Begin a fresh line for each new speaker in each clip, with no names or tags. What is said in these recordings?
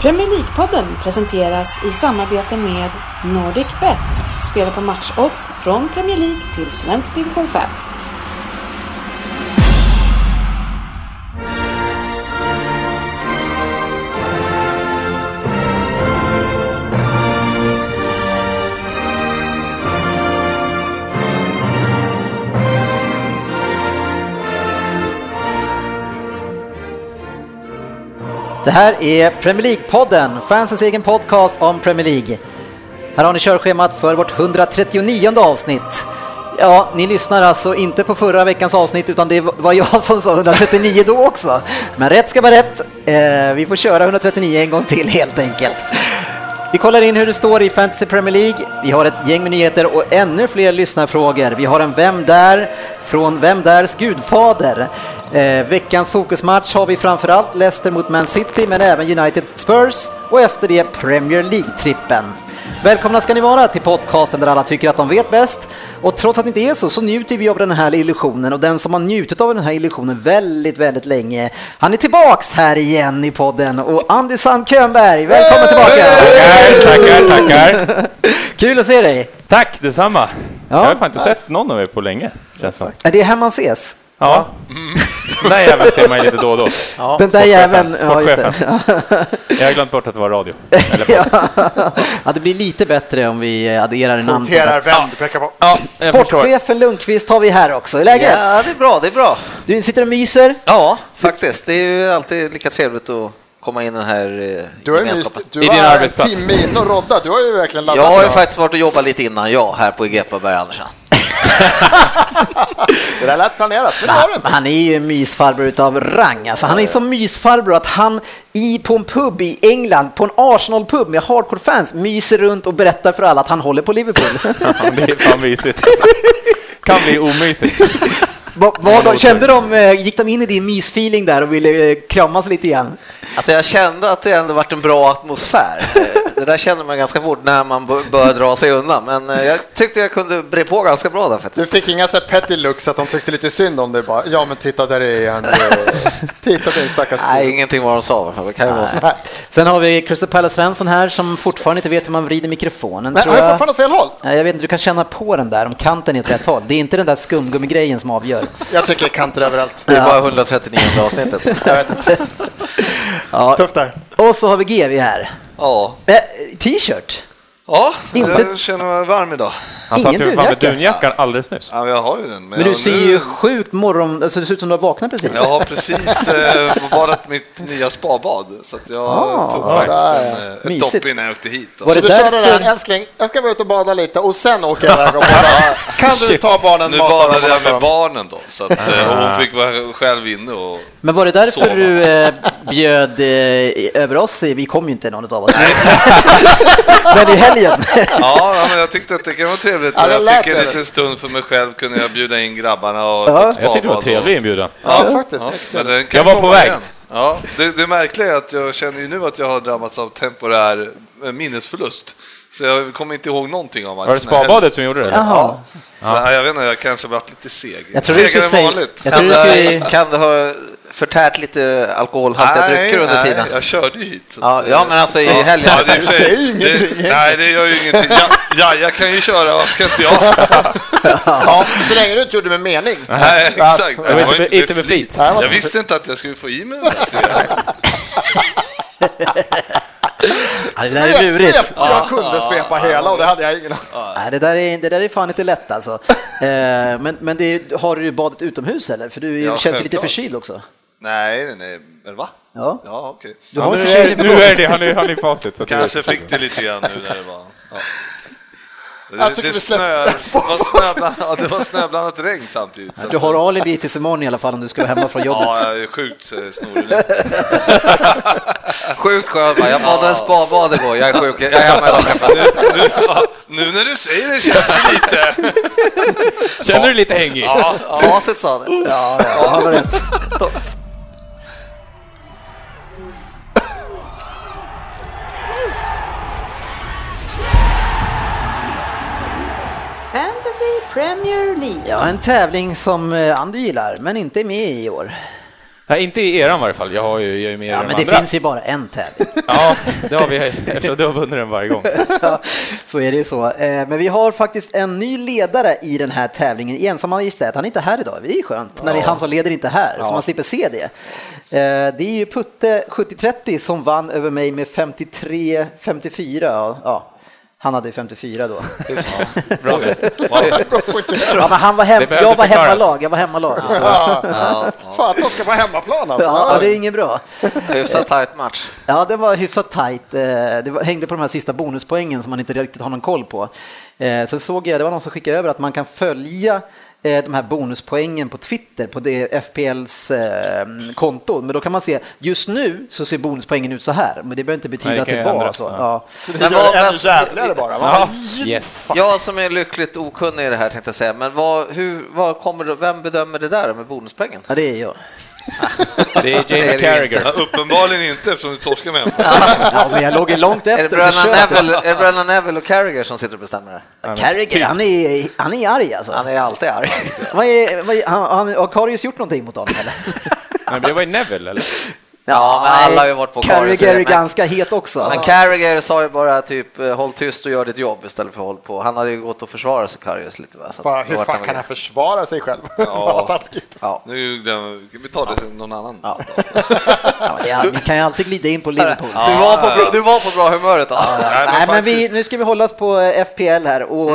Premier League-podden presenteras i samarbete med NordicBet. Spela på matchodds från Premier League till svensk division 5.
Det här är Premier League-podden, fansens egen podcast om Premier League. Här har ni körschemat för vårt 139 avsnitt. Ja, ni lyssnar alltså inte på förra veckans avsnitt utan det var jag som sa 139 då också. Men rätt ska vara rätt. Eh, vi får köra 139 en gång till helt enkelt. Vi kollar in hur det står i Fantasy Premier League. Vi har ett gäng med nyheter och ännu fler lyssnarfrågor. Vi har en Vem där? från Vem därs gudfader. Eh, veckans fokusmatch har vi framförallt Leicester mot Man City men även United Spurs och efter det Premier League-trippen. Välkomna ska ni vara till podcasten där alla tycker att de vet bäst. Och trots att det inte är så, så njuter vi av den här illusionen och den som har njutit av den här illusionen väldigt, väldigt länge, han är tillbaks här igen i podden och Andy Sand Könberg, välkommen tillbaka!
Tackar, tackar, tackar.
Kul att se dig!
Tack detsamma.
Ja,
jag har fan inte sett någon av er på länge. Känns som.
Är det här man ses?
Ja. Den där jäveln ser man ju lite då och då.
Den där jäveln... Ja, just det.
Sportchefen. Jag har glömt bort att det var radio. Eller
Ja. ja, det blir lite bättre om vi adderar namn.
Noterar vem du pekar på.
Ja,
jag förstår.
Sportchefen Lundqvist har vi här också, hur är läget?
ja, det är bra, det är bra.
Du sitter och myser.
Ja, faktiskt. Det är ju alltid lika trevligt att komma in i den här eh,
Du har ju nyss,
gemenskapen.
I
du
din
har en
arbetsplats.
timme in och rodda, du har ju verkligen laddat.
Jag har ju
idag.
faktiskt varit och jobbat lite innan jag här på Egepaberg Andersen.
Det där lät planerat, men det var det inte.
Han är ju en mysfarbror utav rang. Alltså, han är så mysfarbror att han i, på en pub i England, på en Arsenal-pub med hardcore-fans, myser runt och berättar för alla att han håller på Liverpool.
Ja, Det är fan mysigt. Alltså. Kan bli omysigt.
vad, vad de, kände de, eh, gick de in i din mysfeeling där och ville eh, kramas lite igen?
Alltså jag kände att det ändå varit en bra atmosfär. Eh, Det där känner man ganska fort när man bör- börjar dra sig undan, men eh, jag tyckte jag kunde bre på ganska bra där
Du
faktiskt.
fick inga så här petty looks att de tyckte lite synd om dig bara. Ja, men titta där är han. titta din stackars
Nej,
gud.
ingenting vad de sa. i alla fall. Det kan ju vara så.
Nej.
Sen har vi Crystal Palace Svensson här som fortfarande inte vet hur man vrider mikrofonen.
Men
tror
har jag fortfarande åt fel håll?
Nej, jag vet inte, du kan känna på den där om kanten är åt rätt håll. Det är inte den där skumgummigrejen som avgör.
Jag tycker kanter överallt.
Det är bara 139 avsnittet.
Jag vet inte.
Ja.
Tufft där.
Och så har vi GV här.
Ja,
Eh, T-shirt.
ja
Inte-
Eh,
jag känner mig varm idag.
Han satt
Ingen
ju för fan med
dunjacka.
dunjackan alldeles nyss.
Ja, men jag har ju den.
Men du
jag,
ser ju sjukt morgon... Alltså, det ser ut som du har vaknat precis.
Jag har precis eh, badat mitt nya spabad, så att jag
Ah,
tog
ah,
faktiskt en,
där,
eh, ett
Mysigt.
dopp innan jag åkte hit. Då.
Var
Så
det
du körde den
därför-
här, älskling, jag ska vara ute och bada lite och sen åker jag iväg och bada. Kan du ta barnen
Nu
maten och
badade
hålla
jag
för
med
dem?
barnen då, så att, eh, och hon fick vara själv inne och...
Men var det därför
Sova.
du eh, bjöd eh, över oss? Vi kom ju inte någon av oss. Men i helgen.
Ja, ja, men jag tyckte att det kan vara trevligt.
Ja, det lät
jag fick en
trevligt.
liten stund för mig själv, kunde jag bjuda in grabbarna och
Ja.
ett
Jag tyckte det var
spabad och-
trevlig inbjudan.
Ja, faktiskt.
Ja, men den kan
Jag var
komma
på väg.
igen. Ja, det, det märkliga är att jag känner ju nu att jag har drabbats av temporär eh, minnesförlust. Så jag kommer inte ihåg någonting av matchen.
Var det spabadet som gjorde det?
Jaha.
Så, ja. Jag vet inte, jag kanske varit lite seg.
Jag tror du skulle
Segare än
säga-
vanligt.
jag tror
Nej,
Kan
du
du,
skulle...
kan du ha förtärt lite alkoholhaltiga drycker under tiden?
nej, jag körde ju hit. Så.
Ja, ja, men alltså i helgen.
Ja, det är i och för sig-
Säg ingenting.
Det, nej, det gör ju ingenting. Ja, ja, jag kan ju köra, varför kan inte jag?
Ja, så länge du inte gjorde med mening.
Nej, exakt.
Det
var
Det var
inte-
inte
inte med
med flit.
flit.
Nej, det var
Jag
inte med
visste inte att jag skulle få i mig den där tror jag.
Ja, det där är lurigt.
svep! Jag kunde svepa hela och det hade jag ingen aning om.
Nej, det, där är, det där är fan inte lätt alltså. Eh, men men det är, har du badet utomhus eller? För du
Ja,
känns ju lite
självklart.
förkyld också.
Nej, nej, nej. Eller va?
Ja.
Ja, okej.
Du
Ja,
har
nu,
en
är,
förkylning på
nu
gång.
är det, han är, han är facit. Så att-
Kanske fick det lite grann nu när det var... Ja.
Jag
Det,
tycker
det,
vi släpper
snö, var snöblandat, ja, det var snöblandat regn samtidigt. så
Du
att-
har alibi tills imorgon i alla fall om du ska vara hemma från jobbet.
Ja, jag är sjukt eh, snorig.
Sjukt skönt va? Jag badade spabad igår, jag är sjuk, jag är hemma hela veckan.
Nu, nu, ja, nu när du säger det känns det lite...
Känner du lite hängig?
Facit sa det.
Fantasy Premier League.
Ja, en tävling som eh, Andy gillar, men inte är med i år.
Nej, inte i eran i varje fall. Jag har ju, jag är ju med i
Ja,
de
men det
andra.
finns ju bara en tävling.
Ja, det har vi eftersom du har vunnit den varje gång.
Ja, så är det ju så. Eh, Men vi har faktiskt en ny ledare i den här tävlingen i ensammajestet. Han är inte här idag, det är ju skönt. När det är han som leder inte är här, så man slipper se det. Eh, Det är ju Putte 7030 som vann över mig med 53, 54. ja, Ja, han hade ju 54 då.
Bra.
Ja, men han var hem,
Det behöver
jag var
förklaras.
hemmalag, jag var hemmalag. Så.
Ja. Fan, de ska vara hemmaplan alltså.
Ja, det är inget bra.
Hyfsat tajt match.
Ja, det var hyfsat tajt. Eh, Det var- hängde på de här sista bonuspoängen som man inte riktigt har någon koll på. Eh, Sen såg jag, det var någon som skickade över att man kan följa eh, de här bonuspoängen på Twitter, på det FPLs eh, konto. Men då kan man se, just nu så ser bonuspoängen ut så här, men det behöver inte betyda
Nej, det
att
kan
det
ju
var
ändras,
så.
ja.
Ja.
Så det
Men
gör
vad
det ännu
bäst-
jävligare bara. Va?
Ja, yes.
Jag som är lyckligt okunnig i det här tänkte jag säga, men vad, hur, vad kommer, du- vem bedömer det där med bonuspengen?
ja, det är jag.
Det är
det
Jamie
ju
Carragher.
Ja, uppenbarligen inte eftersom du torskar med mig.
Ja, men jag låg ju långt
Är det
efter.
Brennan
försökte.
Neville, är det Brennan Neville och Carragher som sitter och bestämmer det?
Carragher, han är, han är arg alltså.
Han är alltid arg.
Vad är, vad är, han, han, har Karius gjort någonting mot honom eller?
Men det var ju Neville, eller?
Ja, men alla har ju varit på Karius.
Carragher är
Men,
ganska het också.
men
alltså.
Carragher sa ju bara typ håll tyst och gör ditt jobb istället för håll på. Han hade ju gått och försvarat sig Karius lite. Va? Så att
Fan,
det
hur
vart
fan
en-
kan han försvara sig själv? Vad taskigt.
Ja.
Nu glömmer vi. Vi tar det till någon annan.
Ja.
Ja, det är, vi kan ju alltid glida in på Liverpool.
Du, var på
Ah.
bra, du var på bra humöret då.
Nej, men
Nej, men vi,
faktiskt-
nu ska vi hålla oss på eh, FPL här och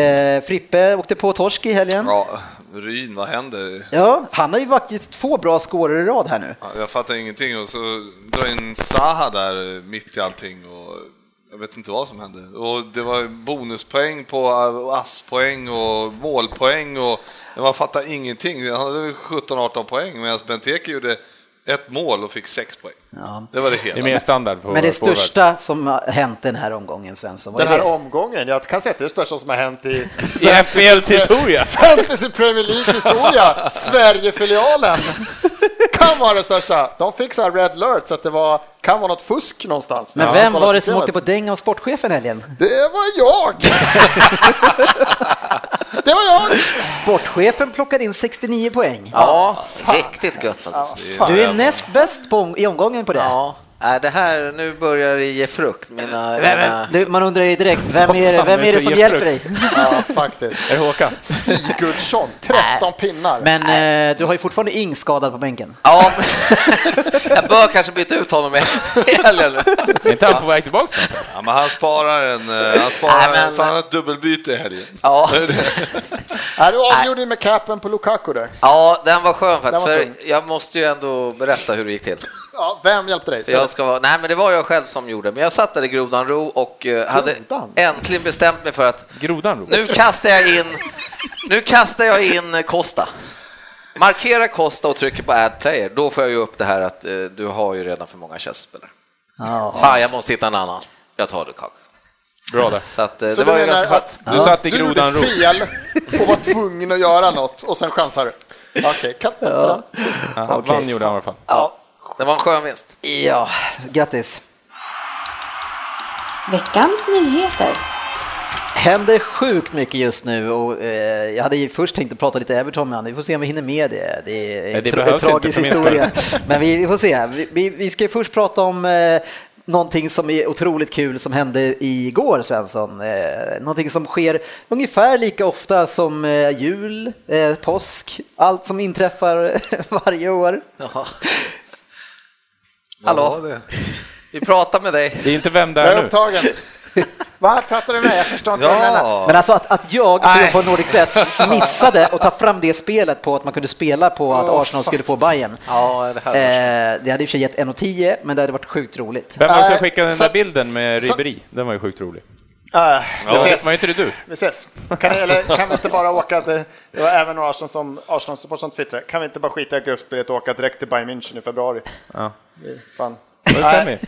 eh, Frippe åkte på torsk i helgen. Ja.
Ja, Ryn, vad händer?
han har ju faktiskt två bra scorer i rad här nu.
Ja, Jag fattar ingenting och så drar in Zaha där eh, mitt i allting och jag vet inte vad som hände. Och det var bonuspoäng på eh, asspoäng och målpoäng och man fattar ingenting. Han hade väl 17-18 poäng medan Benteke gjorde ett mål och fick sex poäng. Det var det hela.
Det är mer standard på
Men det
forward.
största som har hänt den här omgången, Svensson, vad
Den
är
här
det?
omgången, jag kan säga att det är det största som har hänt i
I FPLs historia.
Fantasy Premier Leagues historia, Sverigefilialen. Kan vara det största. De fick så här red alert så att det var, kan vara något fusk någonstans.
Men
Ja,
vem
kolla
var det som
systemet.
åkte på dänga av sportchefen i helgen?
Det var jag! det var jag!
Sportchefen plockade in 69 poäng.
Ja, riktigt gött faktiskt.
Du är näst bäst på, i omgången på det.
Ja. Nej, det här, nu börjar det ge frukt. Mina,
Vem,
mina...
vem, du, man undrar ju direkt, vem är det,
fan,
vem
det
är
är
det
så
som
jävla
hjälper dig?
Ja, faktiskt.
Är det Håkan?
Sigurdsson, 13 pinnar.
Men eh, du har ju fortfarande Ing skadad på bänken.
Ja, men... jag bör kanske byta ut honom i helgen.
Är inte han på väg tillbaka? snart?
Ja, men han sparar en... eh, Han sparar
Nej, men-
så han har ett dubbelbyte i helgen.
Ja.
Nej, Äh, du avgjorde ju med capen på Lukaku där.
ja, den var skön faktiskt.
Den var
För jag måste ju ändå berätta hur det gick till.
Ja, vem hjälpte dig?
För Jag ska vara, nej men det var jag själv som gjorde, men jag satt där i grodan ro och eh, hade
Grodan?
äntligen bestämt mig för att
Grodan, Robert.
nu kastar jag in, nu kastar jag in eh, Costa. Markera Costa och trycker på add player, då får jag ju upp det här att eh, du har ju redan för många Chelsea-spelare.
Ja.
Fan, jag måste hitta en annan. Jag tar Lukaku.
Bra där.
Så att eh,
Så
det
du
var ju
menar
ganska skönt.
att
Du satt i
du
grodan
gjorde
ro.
fel och var tvungen att göra något och sen chansar du? Okej, katten för den.
Ja, han vann gjorde han i alla fall.
Det var en skön vinst.
Ja, grattis.
Veckans nyheter.
händer sjukt mycket just nu och eh, jag hade ju först tänkt att prata lite Everton med honom. Vi får se om vi hinner med det. Det är en
det
tra-
behövs
tragisk
inte för min
historia. Men vi, vi får se. Vi, vi, vi ska ju först prata om eh, någonting som är otroligt kul som hände igår, Svensson. Eh, någonting som sker ungefär lika ofta som eh, jul, eh, påsk, allt som inträffar varje år.
Vad
Hallå?
var det?
Vi pratar med dig.
Det är inte vem
Jag
där
är
nu.
upptagen. Vad pratar du med? Jag förstår inte vad du menar.
Ja!
Men alltså att, att jag som jobbar på NordicBet missade att ta fram det spelet på att man kunde spela på att Arsenal skulle få Bayern.
Ja, det här
Eh, det hade i och för sig gett 1,10 men det hade varit sjukt roligt.
Vem var det som
Nej,
skickade den
så-
där bilden med
så-
Ribéry? Den var ju sjukt rolig.
Ah, vi
Var,
ses.
var inte det du?
Vi ses. Kan, eller, kan vi inte bara åka till, det var även några Arsenal som, Arsenal-support som twittrade, kan vi inte bara skita i gruppspelet och åka direkt till Bayern München i februari?
Ja.
Fan.
Det stämmer ju.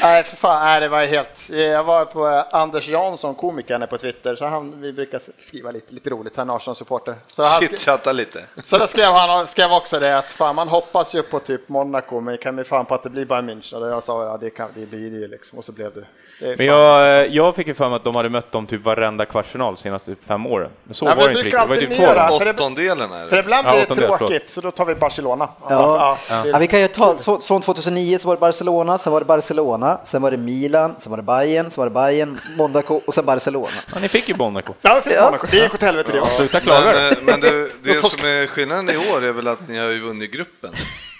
Nej, för fan, nej, det var helt... Jag var på eh, Anders Jansson, komikern, på Twitter, så han, vi brukar skriva lite, lite roligt, han är Arsenal-supporter. Så, han sk-
Chitchatta lite.
så då skrev han skrev också det att fan, man hoppas ju på typ Monaco, men kan vi fan på att det blir Bayern München? Och jag sa ja, det, kan, det blir det ju liksom, och så blev det. det är
Men
fan-
jag, eh, jag fick ju för mig att de hade mött dem typ varenda kvartsfinal de senaste typ fem åren. Men så
Ja, men
var det
vi
inte
brukar
riktigt. Det var ju typ två.
alltid göra-
år.
för det-
Åttondelen är
För
det.
ibland
Ja,
blir det
åttondel, förlåt.
tråkigt, så då tar vi Barcelona.
Ja.
Ja, det-
Ja, vi kan ju ta, så, från 2009 så var det Barcelona, sen var det Barcelona, sen var det Milan, sen var det Bayern, sen var det Bayern, Monaco och sen Barcelona.
Ja, ni fick ju Monaco.
Ja, vi fick Monaco. Det gick åt helvete det också.
Sluta klaga.
Men,
då.
eh, men det, det som är skillnaden i år är väl att ni har ju vunnit gruppen.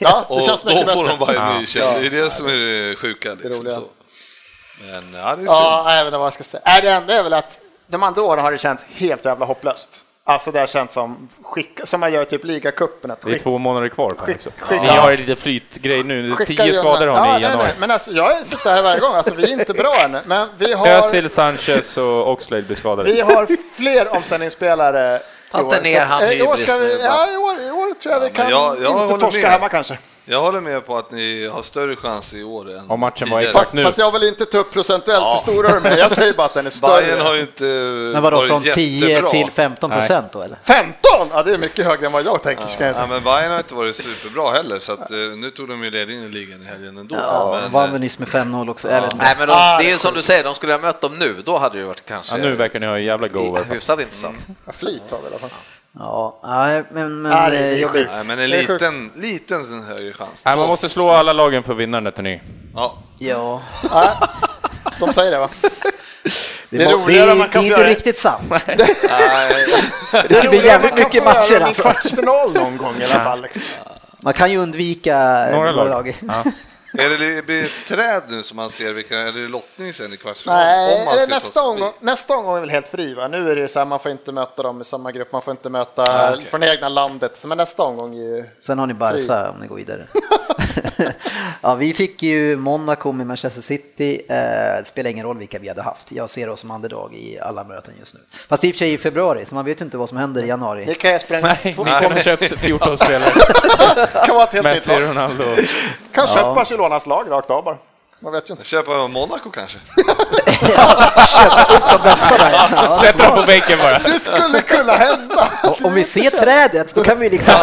Ja,
Och
det känns
då
mycket
får de
bättre.
bara en ny känd. Det är det som är det sjuka. Liksom,
roliga.
så. Men ja, det är
Ja,
synd.
jag vet inte vad jag ska säga. Nej, Det enda är väl att de andra åren har det känts helt jävla hopplöst. Alltså det har känts som, skick, som man gör i typ ligacupen. att
Det är
skick-
två månader kvar på den också.
skicka-
Ni har ju lite flytgrej nu.
skicka
Tio
ju en-
skador
Ja,
har ni i
nej,
januari.
Nej, men alltså, jag sitter här varje gång, alltså vi är inte bra än. Men vi har,
Özil, Sanchez och Oxlade blir skadade.
vi har fler omställningsspelare
Ta
i år,
inte ner
så att,
han
eh, i år
hybris
ska vi,
nu,
ja, i, år, I år tror jag vi
men
kan
jag- jag
inte
håller
torska
med.
hemma kanske.
Jag håller med på att ni har större chans i år än
Om matchen var
tidigare.
exakt
Fast,
nu.
fast jag vill inte ta upp procentuellt hur stora de är. Jag säger bara att den är större.
Bayern har ju inte
Men vadå,
varit
från 10
jättebra.
till 15 procent då eller?
15! Ja, det är mycket högre än vad jag tänker. Ska jag
Ja,
säga.
men Bayern har inte varit superbra heller, så att, eh, nu tog de ju ledningen i ligan i helgen ändå.
Ja,
men,
vann
eh,
vi nyss med 5-0 också. Jag vet inte.
Nej, men de, Ah, det är ju som du säger, de skulle ha mött dem nu, då hade det ju varit
Ja,
kanske
nu verkar ni ha en jävla go i alla fall.
hyfsat intressant.
Ja, Flyt har vi i alla fall.
Ja, nej, men... men
Ja, det är
eh,
skit.
nej, men en
Det är sjukt.
liten, liten sån högre chans.
Nej, man måste slå alla lagen för att vinna den här turneringen.
Ja.
Ja.
Nej, de säger det va?
Det,
Det
må-
är
det
roligare
är,
om man kan
det är
få
inte
göra-
riktigt sant.
Nej,
Det ska bli jävligt mycket matcher
alltså.
alltså.
kvartsfinal någon gång i alla fall. Liksom.
Man kan ju undvika
Några
några
lag.
lag.
Ja.
är det- det, blir det träd nu som man ser vilka, är det lottning sen i kvartsfinalen?
Nej,
man
eller
skulle ta sig
nästa, omgång,
förbi.
nästa omgång är väl helt fri va? Nu är det ju så här, man får inte möta dem i samma grupp, man får inte möta från egna landet. Så, Men nästa omgång är ju...
Sen har ni Barca om ni går vidare. ja, vi fick ju Monaco med Manchester City. Eh, Det spelar ingen roll vilka vi hade haft. Jag ser oss som underdog i alla möten just nu. Fast i och för sig i februari, så man vet ju inte vad som händer i
Ni
januari.
kan ju spränga...
Nej, ni
två-
kommer köpt 14 spelare.
kan vara ett helt nytt
Messi,
lag.
Ronaldo.
Kan köpa Barcelonas lag rakt av bara. Man vet ju inte.
Köpa Monaco kanske?
Ja,
Sätt dem på bänken bara.
Det skulle kunna hända!
och om vi ser trädet, då kan vi liksom...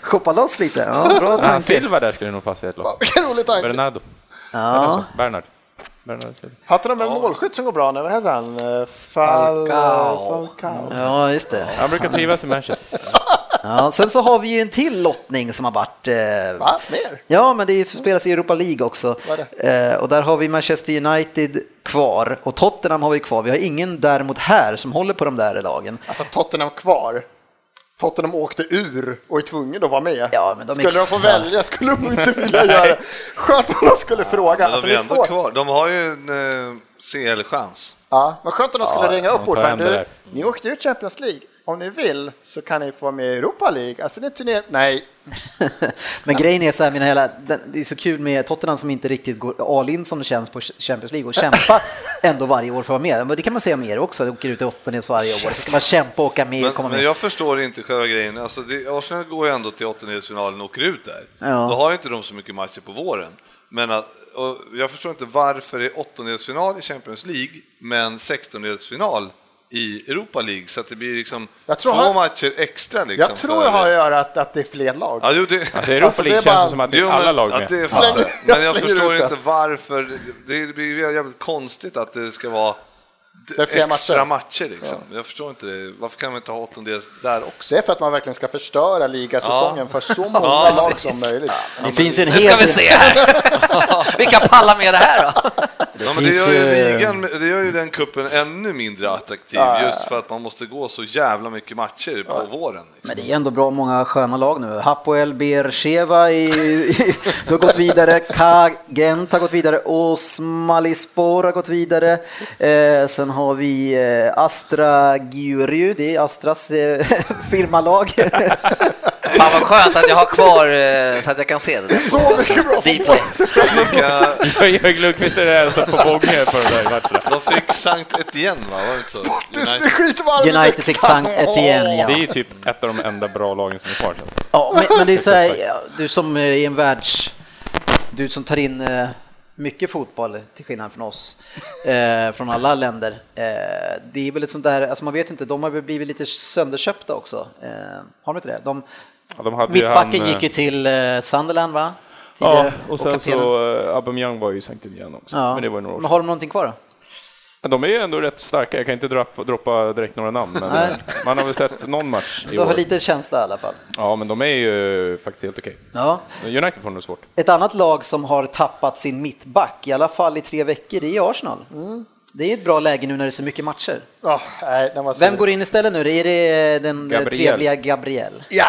Shoppa loss lite. Ja, bra
Ja,
tanke.
Silva där skulle nog passa i ett lag.
Vilken rolig tanke.
Bernardo. Eller
Ja.
något sånt. Bernard. Bernard Silva.
Hade de en målskytt som går bra nu? Vad heter han? Eh, Fal...
Falcao.
Falcao.
ja, just det.
Han brukar trivas i Manchester.
Ja, sen så har vi ju en till lottning som har varit... eh,
Va? Mer?
Ja, men det är- spelas i Europa League också.
Vad är
Eh, och där har vi Manchester United kvar och Tottenham har vi kvar. Vi har ingen däremot här som håller på de där lagen.
Alltså Tottenham kvar. Tottenham åkte ur och är tvungen att vara med.
Ja, men de är-
skulle de få
Ja.
välja skulle de inte vilja göra det. Skönt om de skulle fråga.
Men
alltså,
de är
vi
ändå
får-
kvar. De har ju en eh, CL-chans.
Ja, men skönt om de skulle
Ja,
ringa
de
upp
tar hem
ordföranden.
det
Du,
där.
Ni åkte ur Champions League. Om ni vill så kan ni få vara med i Europa League. Alltså det är turner... Nej.
Men grejen är så här, mina hela, den- det är så kul med Tottenham som inte riktigt går all in som det känns på Champions League och kämpa ändå varje år för att vara med. Men det kan man säga om er också, de åker ut i åttondels varje år. Så ska man kämpa och åka med och komma
Men, men
med.
jag förstår inte själva grejen. Alltså, det, Arsenal går ju ändå till åttondelsfinalen och åker ut där.
Ja.
Då har ju inte de så mycket matcher på våren. Men att, och jag förstår inte varför det är åttondelsfinal i Champions League, men sextondelsfinal i Europa League. Så att det blir liksom
Jag tror
två
han-
matcher extra. Liksom,
Jag tror det har att göra att, att det är fler lag.
Ja, jo, det...
Alltså, Europa
Alltså, det är
League känns
bara-
det som att det
Jo,
är alla
men,
lag
att det
med.
är fattar jag.
Jag
Men jag
slänger
förstår
ut det.
inte varför. Det blir ju jävligt konstigt att det ska vara d-
Det är fler
extra
matcher.
matcher. liksom. Jag förstår inte det. Varför kan man inte ha åttondels där också?
Det är för att man verkligen ska förstöra ligasäsongen för så många
Ja,
lag som möjligt.
Det finns ju en
Nu ska
hel
vi
del,
se här. Vilka pallar med det här då?
ja, men det,
finns
gör ju
ju-
ligan, det gör ju den kuppen ännu mindre attraktiv just för att man måste gå så jävla mycket matcher på våren. Liksom.
men det är ändå bra många sköna lag nu. Hapoel Beersheva i, i, har gått vidare, Kagent har gått vidare, Osmalispor har gått vidare. Eh, sen har vi eh, Astra Giurju, det är Astras eh, firmalag.
Fan vad skönt att jag har kvar eh, så att jag kan se det. där.
Så mycket bra
Dplay.
Vilka,
Jörgen Lundqvist är det här som får bågen på den där matcherna.
de fick Sankt Etienne va? Var det inte så?
Det blir
United.
skitvarmt i
United fick
Leksand.
Sankt Etienne,
Det är
ja.
ju typ ett av de enda bra lagen som är kvar. känns det.
ja men, men det är så här, ja, du som är en världs du som tar in eh, mycket fotboll till skillnad från oss, eh, från alla länder. Eh, det är väl ett sånt där, alltså man vet inte, de har väl blivit lite sönderköpta också. Eh, har de inte det? De,
Ja, de hade ju
mittbacken
han, eh,
gick ju till eh, Sunderland va?
Ja,
Tidigare,
och sen
kaptenen.
så eh, Aubameyang var ju sänkt igen också.
Ja.
Men det var ju några år
Men
sedan.
har de någonting kvar då?
Men De är ju ändå rätt starka. Jag kan inte droppa, droppa direkt några namn, men
Nej.
eh, man har väl sett någon match i
Du har
år.
lite känsla i alla fall.
Ja, men de är ju faktiskt helt okej.
Ja.
United får nog svårt.
Ett annat lag som har tappat sin mittback, i alla fall i tre veckor, det är Arsenal. Det är ett bra läge nu när det är så mycket matcher.
Ja, nej, när man ser-
Vem går in istället nu? Är det eh, den
Gabriel.
trevliga Gabriel?
Ja,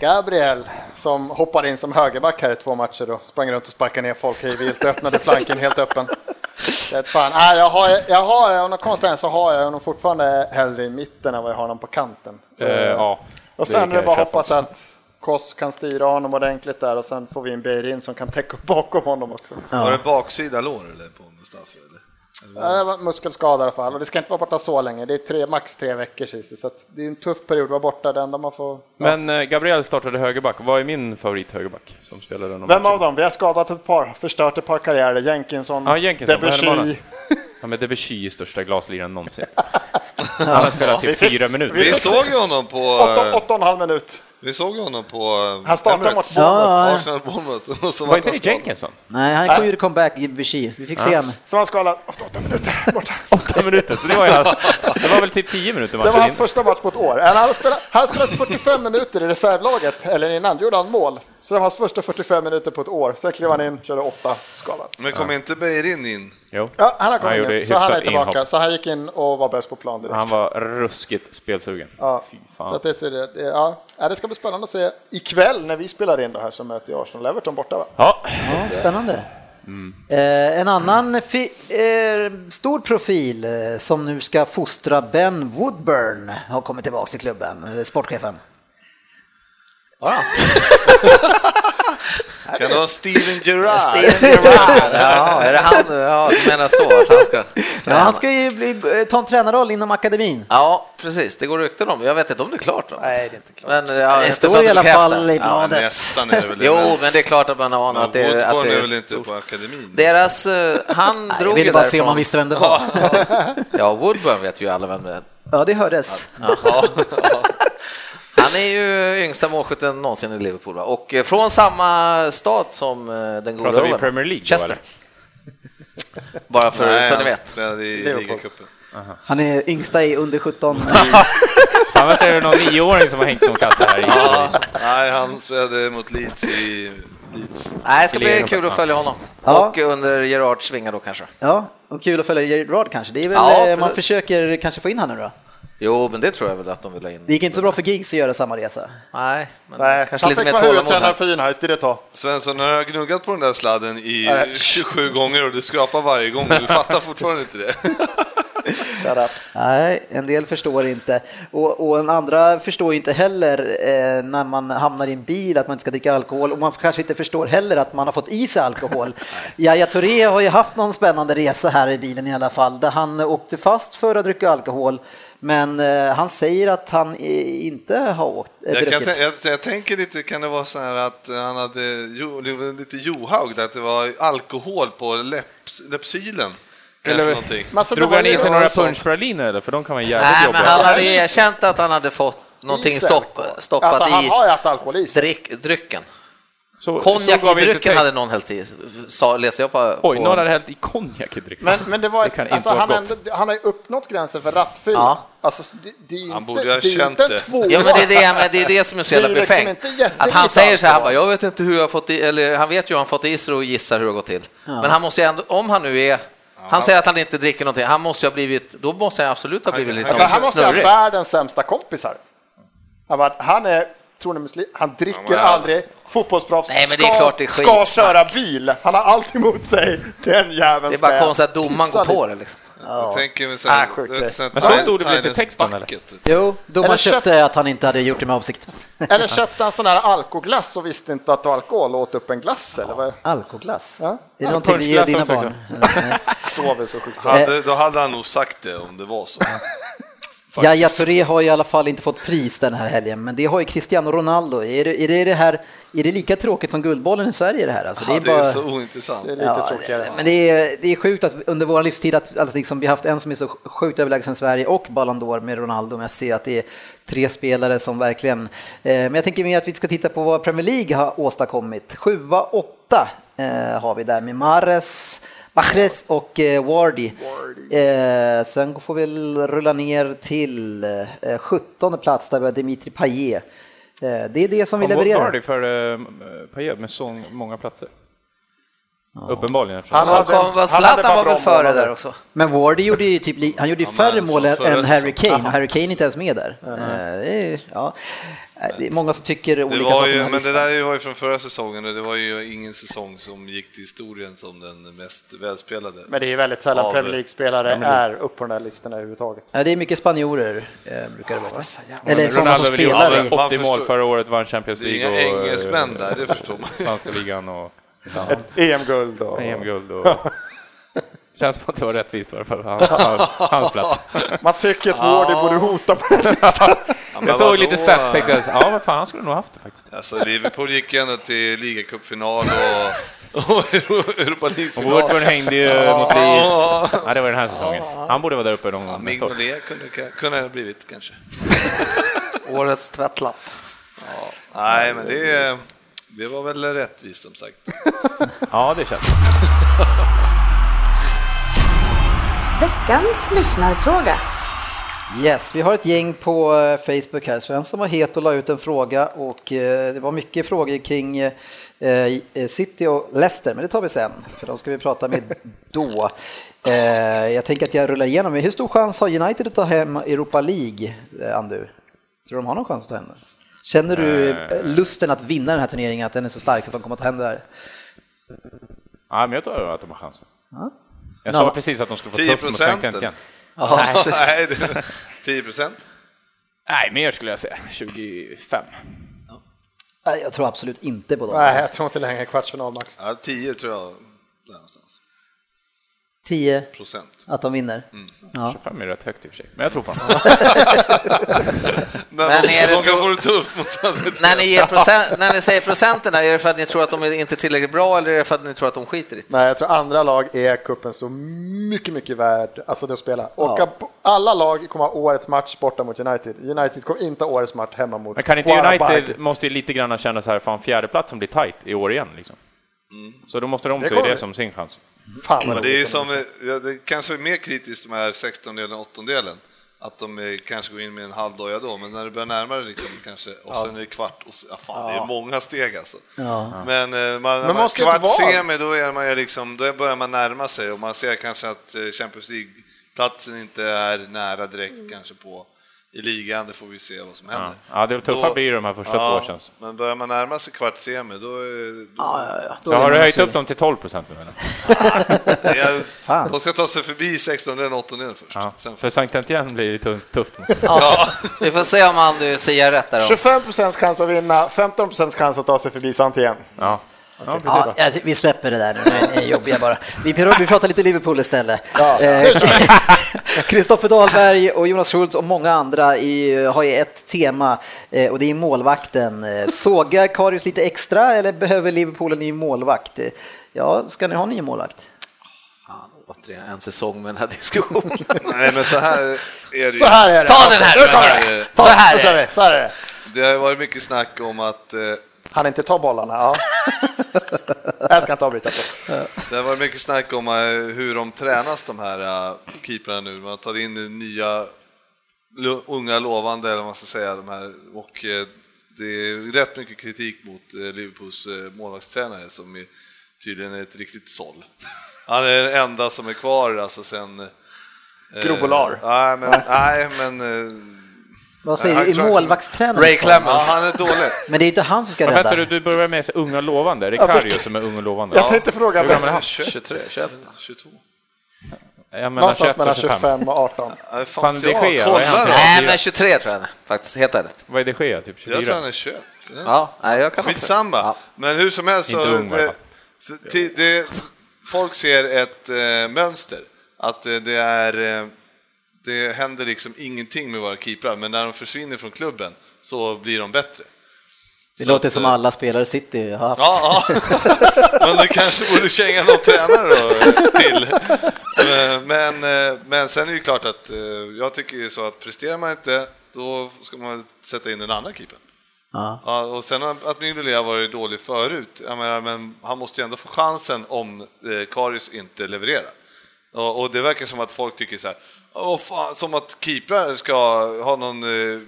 Gabriel som hoppade in som högerback här i två matcher och sprang runt och sparkade ner folk hej vilt och öppnade flanken helt öppen. Jag vet fan. Nej, jag har, jag har av någon konstig anledning så har jag honom fortfarande hellre i mitten än vad jag har honom på kanten.
Eh, ja,
och sen
kan
är det
jag
bara
köpa.
hoppas att Koss kan styra honom ordentligt där och sen får vi in Beirin som kan täcka upp bakom honom också.
Var det baksida lår eller på Mustafi? Eller?
Ja, det var muskelskada i alla fall och det ska inte vara borta så länge. Det är tre, max tre veckor sist så att det är en tuff period att vara borta. Det enda man får...
Men eh, Gabriel startade högerback. Vad är min favorit högerback som spelade den
Vem av dem? Vi har skadat ett par, förstört ett par karriärer. Jenkinson,
Ja, Jenkinson. Vad hände med honom?
Debussy.
Ja, men Debussy är största glasliraren någonsin. Han har spelat typ fyra
Vi
minuter.
såg ju honom på...
Åtta,
eh,
åtta och en halv minut.
Vi såg ju honom på... eh,
Han startade mot
Emirates.
Bournemouth.
Ja, ja.
Arsenal Bournemouth. Och så
Var
vart
inte
han
det
skadad.
Jenkinson?
Nej,
Ah.
han kom ju comeback i Vichy. Vi fick se han.
Så han skadade åtta, åtta minuter borta.
Åtta minuter, så det var, ju hans, det var väl typ tio minuter
Det var
matchen
hans
in.
första match på ett år. Han hade spelat, han hade spelat 45 minuter i reservlaget, eller innan, gjorde han mål. Så det var hans första 45 minuter på ett år. Sen klev han in, körde åtta, skadad.
Men kom inte Beirin in?
Jo.
Ja, han
Han
har kommit
gjorde
in, så han är
hyfsat
tillbaka.
inhopp.
Så han gick in och var bäst på plan direkt.
Han var ruskigt spelsugen.
Ja,
Fy
så
fan.
att det, ser det, det, ja. Ja, det ska bli spännande att se ikväll när vi spelar in det här så möter jag Arsenal Everton borta va?
Ja,
Ja, spännande.
Mm.
Eh, en annan fi- eh, stor profil eh, som nu ska fostra Ben Woodburn har kommit tillbaka till klubben, eh, sportchefen.
Kan det vara Steven Gerrard?
Ja, är det han? Ja, du menar så att han ska
Ja, han ska ju bli, eh, ta en tränarroll inom akademin.
Ja, precis. Det går rykten om. Jag vet inte om det är klart. Då. Nej, det är inte klart. Men, ja,
Det
jag
står
får inte
i alla
bekräfta.
fall i
Ja,
bladet.
Nästan är det väl det.
Jo,
men-
men det är klart att man anar
men
att det är... Att
Woodburn
det
är
är
väl inte
stort.
på akademin?
Deras... eh, Han
Nej, jag
drog ju
ville bara se om han
därifrån.
visste vem det var.
Ja, Woodburn vet ju alla vem det är.
Ja, det hördes.
Han är ju yngsta målskytten någonsin i Liverpool va? och eh, från samma stad som eh, den goda
Pratar vi
Owen.
Premier League då,
Chester.
eller?
Bara för så ni
han
vet.
spelade i
Liverpool.
ligacupen.
Han är yngsta i under 17.
annars är det någon nioåring som har hängt någon kasse här i.
Ja, nej, han spelade mot Leeds i Leeds.
Nej, det ska bli
League.
kul att följa honom.
Ja.
Och under Gerards vingar då kanske.
Ja, och kul att följa Gerard kanske. Det är väl,
Ja,
eh, man
precis.
försöker kanske få in honom nu då.
Jo, men det tror jag väl att de vill ha in.
Det gick inte så bra för Giggs att göra samma resa.
Nej, men
Nej,
kanske
han
lite mer
fick vara
tålamod
huvudtränare
här.
för United ett tag.
Svensson, har jag gnuggat på den där sladden i
Nej.
27 gånger och du skrapar varje gång. Du fattar fortfarande inte det.
Shut up.
Nej, en del förstår inte. Och, och en andra förstår ju inte heller eh, när man hamnar i en bil att man inte ska dricka alkohol. Och man kanske inte förstår heller att man har fått i sig alkohol. Yahya Touré har ju haft någon spännande resa här i bilen i alla fall. Där han åkte fast för att dricka alkohol. Men eh, han säger att han eh, inte har åkt, eh,
Jag, kan,
druckit.
tän- jag, jag tänker lite, kan det vara så här att han hade jo, det var lite Johaug, att det var alkohol på läpps, läppsylen? Eller
Eller-
någonting.
Men alltså, det
Drog
var
han i
ju-
sig några
sånt.
punschpraliner eller? För de kan vara jävligt
Nej, men
jobbiga.
han hade erkänt att han hade fått någonting
Isen.
stopp, stoppat
Alltså, han
i
har ju haft alkohol i sig.
dryck, drycken.
Så- så
Konjak
gav
i
jag inte
drycken
tänkt.
hade någon hällt i, sa, läste jag på.
Oj,
på-
någon hade hällt i konjak i drycken.
Men, men det var,
kan inte
alltså,
vara
han,
gott.
ändå, han har ju uppnått gränsen för rattfylla.
Ja.
Alltså, det, det är ju
Han
inte,
borde ha
det är ju
känt
inte en
det.
tvåa.
Ja, men det är det, men det är det som är så jävla
Det är liksom
befängt.
inte jättelite
Att han säger så här, han bara,
alkohol.
jag vet inte hur jag har fått i, eller han vet ju hur han fått i sig och gissar hur det har gått till. Men han måste ju ändå, om han nu är, han säger att han inte dricker någonting, han måste ju ha blivit, då måste han absolut ha blivit lite
Alltså, han måste ha
snurrig.
världens sämsta kompisar. Han, bara, han är, tror ni muslim, han dricker
Ja, men-
aldrig, fotbollsproffs,
Nej, men det är klart det är
ska
skitsnack.
köra bil. Han har allt emot sig. Den jäveln
Det är
ska
bara
jag
konstigt att domaren
tipsa
går på
lite.
det liksom.
Jag tänker mig så
Ah,
här,
sjukt
du vet, så här
Men så stod det väl lite
Tidens
text om, eller?
Bucket, vet du.
Jo, då man
Eller köpt-
köpte att han inte hade gjort det med avsikt.
Eller köpte en sån här alkoglass och visste inte att det var alkohol och åt upp en glass eller vad?
Alkoglass?
Ja.
Är det någonting vi ger
punschglass
dina
också,
barn?
Sover så sjukt.
Hade, då hade han nog sagt det om det var så.
Yahya Touré har i alla fall inte fått pris den här helgen, men det har ju Cristiano Ronaldo. Är det är det, det här Är det lika tråkigt som Guldbollen i Sverige det här? Alltså,
Ja, det
bara-
är så ointressant.
Det är lite tråkigare.
Men det är, det är sjukt att under vår livstid att, att liksom vi har haft en som är så sjukt överlägsen Sverige och Ballon d'Or med Ronaldo Messi, att det är tre spelare som verkligen... Eh, men jag tänker mer att vi ska titta på vad Premier League har åstadkommit. Sjua, åtta eh, har vi där med Mares, Mahrez och eh, Wardy. Eh, sen får vi väl rulla ner till eh, 17 plats där vi har Dimitri Payet. Eh, det är det som vi
Kom bort
levererar.
Vardy för eh, Payet med så många platser. Uppenbarligen. eftersom-
Han
Han
hade-
kom, var,
han hade
Zlatan var
bara
väl
bra
före
månader.
där också?
Men Wardy gjorde ju typ, li- han gjorde ju
men
färre
som
mål än
förra
än Harry
säsongen.
Kane och Harry Kane är inte ens med där. Eh, Det är, ja. Eh, det är många som tycker
Det
olika
var
saker. om den
ju,
här
men det
listan.
där var ju från förra säsongen och det var ju ingen säsong som gick till historien som den mest välspelade.
Men det är ju väldigt sällan
Ja,
Premier
det-
League-spelare är upp på den där listan överhuvudtaget.
Ja, det är mycket spanjorer eh, brukar det vara. Eller
Men
sådana som
Alltså, Ronaldo vill ju
spelar.
Ja,
ha
i-
men- man
80 mål
förstår-
förra året, vann Champions
Det är
League
inga
och... eh,
engelsmän där, det förstår man.
Spanska ligan och
Ett EM-guld och...
EM-guld och... Känns som att det var rättvist i alla fall, hans, hans plats.
Man tycker att Wardy borde hota på den
Ja, men
Jag såg
vadå?
lite stats och tänkte, ja vad fan, han skulle nog haft det faktiskt.
Alltså Liverpool gick ju ändå till ligacupfinal och, och Europa League-final.
Woodburn hängde ju mot Leeds. Ja, det var den här säsongen. Han borde vara där uppe någon
Ja,
gång nästa år.
Mignolet kunde, kunde ha blivit kanske.
Årets tvättlapp.
Nej, men det, det var väl rättvist som sagt.
Ja, det känns.
Veckans lyssnarfråga.
Yes, vi har ett gäng på eh, Facebook här. Svensson var het och la ut en fråga och eh, det var mycket frågor kring eh, eh, City och Leicester, men det tar vi sen, för de ska vi prata med då. Eh, Jag tänker att jag rullar igenom. Hur stor chans har United att ta hem Europa League, eh, Andu? Tror du de har någon chans att ta hem den? Känner du eh, lusten att vinna den här turneringen, att den är så stark att de kommer att ta hem det här?
Ja, men jag tror att de har chansen.
Ja.
Jag
Ja.
sa precis att de skulle få
10
tufft mot Sankt
procenten.
Etienne.
Nej, det- 10 procent.
Nej, mer skulle jag säga. 25.
Nej, Jag tror absolut inte på dem.
Nej, jag tror inte längre kvartsfinal max.
Ja, 10 tror jag. Där någonstans.
10
Procent.
att de vinner. Ja.
25 är rätt högt i och för sig, men jag tror på dem.
Men,
Men är det
många
så-
får det tufft mot Sandviken.
När ni, ger procent, när ni säger procenterna, är det för att ni tror att de är inte är tillräckligt bra eller är det för att ni tror att de skiter i det?
Nej, jag tror andra lag är cupen så mycket, mycket värd alltså det att spela. Och alla lag kommer ha årets match borta mot United. United kommer inte ha årets match hemma mot
Men kan inte
Guarabarg.
United, måste ju lite grann känna så här, fan fjärdeplatsen blir tight i år igen liksom. Så då måste de
Det
se det
kommer.
som sin chans.
Fan vad
Men det är ju
roligt.
som, ja, det kanske är mer kritiskt de här 16-delen och 8-delen. Att de eh, kanske går in med en halv doja då, men när det börjar närma dig liksom, kanske, och sen är det kvart, och så, ja, fan, det är många steg alltså. Men, eh, man, när man
måste ju inte
kvart
vara-
semi, då, är man ju liksom, då börjar man närma sig och man ser kanske att eh, Champions League-platsen inte är nära direkt kanske på i ligan, det får vi se vad som händer.
Ja, det tuffa blir ju de här första två åren, känns det.
Men börjar man närma sig kvart semi, då, är- då
Ja, ja, ja. Då
Så
är
har
det
du höjt
Marseille.
upp dem till 12 procent nu eller?
Jag,
Fan.
de ska ta sig förbi 16 eller 18 först.
Ja.
Sen
För
får-
Sankt Etienne blir det tu- tufft. mot.
Vi får se om han nu säger rätt där. då.
25 procents chans att vinna, 15 procents chans att ta sig förbi Santien.
Ja. Ja, precis.
Ja, jag ty- vi släpper det där nu, det är jobbiga bara. Vi, pr- vi pratar lite Liverpool istället. Kristoffer Dahlberg och Jonas Schultz och många andra i, har ju ett tema eh, och det är målvakten. Eh, Sågar Karius lite extra eller behöver Liverpool en ny målvakt? Eh, Ja, ska ni ha en ny målvakt?
Fan, återigen en säsong med den här diskussionen.
Nej, men så här är det
Så
ju.
här är det.
Ta den här!
Nu kommer det.
Eh,
Så här
Nu kör
är det.
vi. Så här är det.
Det har ju varit mycket snack om att eh,
Han inte ta bollarna. Ja. jag ska inte avbryta. så.
det har varit mycket snack om eh, hur de tränas de här eh, keeprarna nu. Man tar in eh, nya lo- unga lovande eller vad man ska säga de här och eh, det är rätt mycket kritik mot eh, Liverpools eh, målvaktstränare som är, tydligen är ett riktigt såll. Han är den enda som är kvar alltså sen eh,
Grobolar.
Nej, men, nej, men eh,
Vad
Nej,
säger
han-
du? Är målvaktstränaren
Ray
så?
ja,
Clemens.
han är dålig.
Men det är ju inte han som ska
Vad
rädda.
hette du? Du började med så unga lovande. Är det Karius som är ung och lovande?
Jag tänkte fråga,
Hur gammal är han?
23, 21.
22.
Jag menar
någonstans
21 och 25.
mellan 25 och 18.
Nej,
Fan,
fan,
det
jag
sker, vad är han?
kollar. då.
Nej, men 23 tror jag han är, faktiskt, helt ärligt.
Vad är det sker? Typ 24?
Jag tror han är 21.
Ja, nej, jag kan ha fel.
Skitsamma.
Ja.
Men hur som helst, så,
Inte ung, i alla
det,
fall.
för, ti- det, folk ser ett eh, mönster. Att eh, det är... Eh, det händer liksom ingenting med våra keeprar, men när de försvinner från klubben så blir de bättre.
Det
Så
låter
att,
som
eh,
alla spelare i City har haft.
Ja, ja. men det kanske borde känga någon tränare då, eh, till. Eh, Men, eh, men sen är det ju klart att eh, jag tycker ju så att presterar man inte, då ska man sätta in den andra keepern.
Ja.
Ja, och sen att Mignolet har varit dålig förut, jag menar, men han måste ju ändå få chansen om eh, Karius inte levererar. Och, och det verkar som att folk tycker så här, "Åh, fan, som att keeprar ska ha någon eh,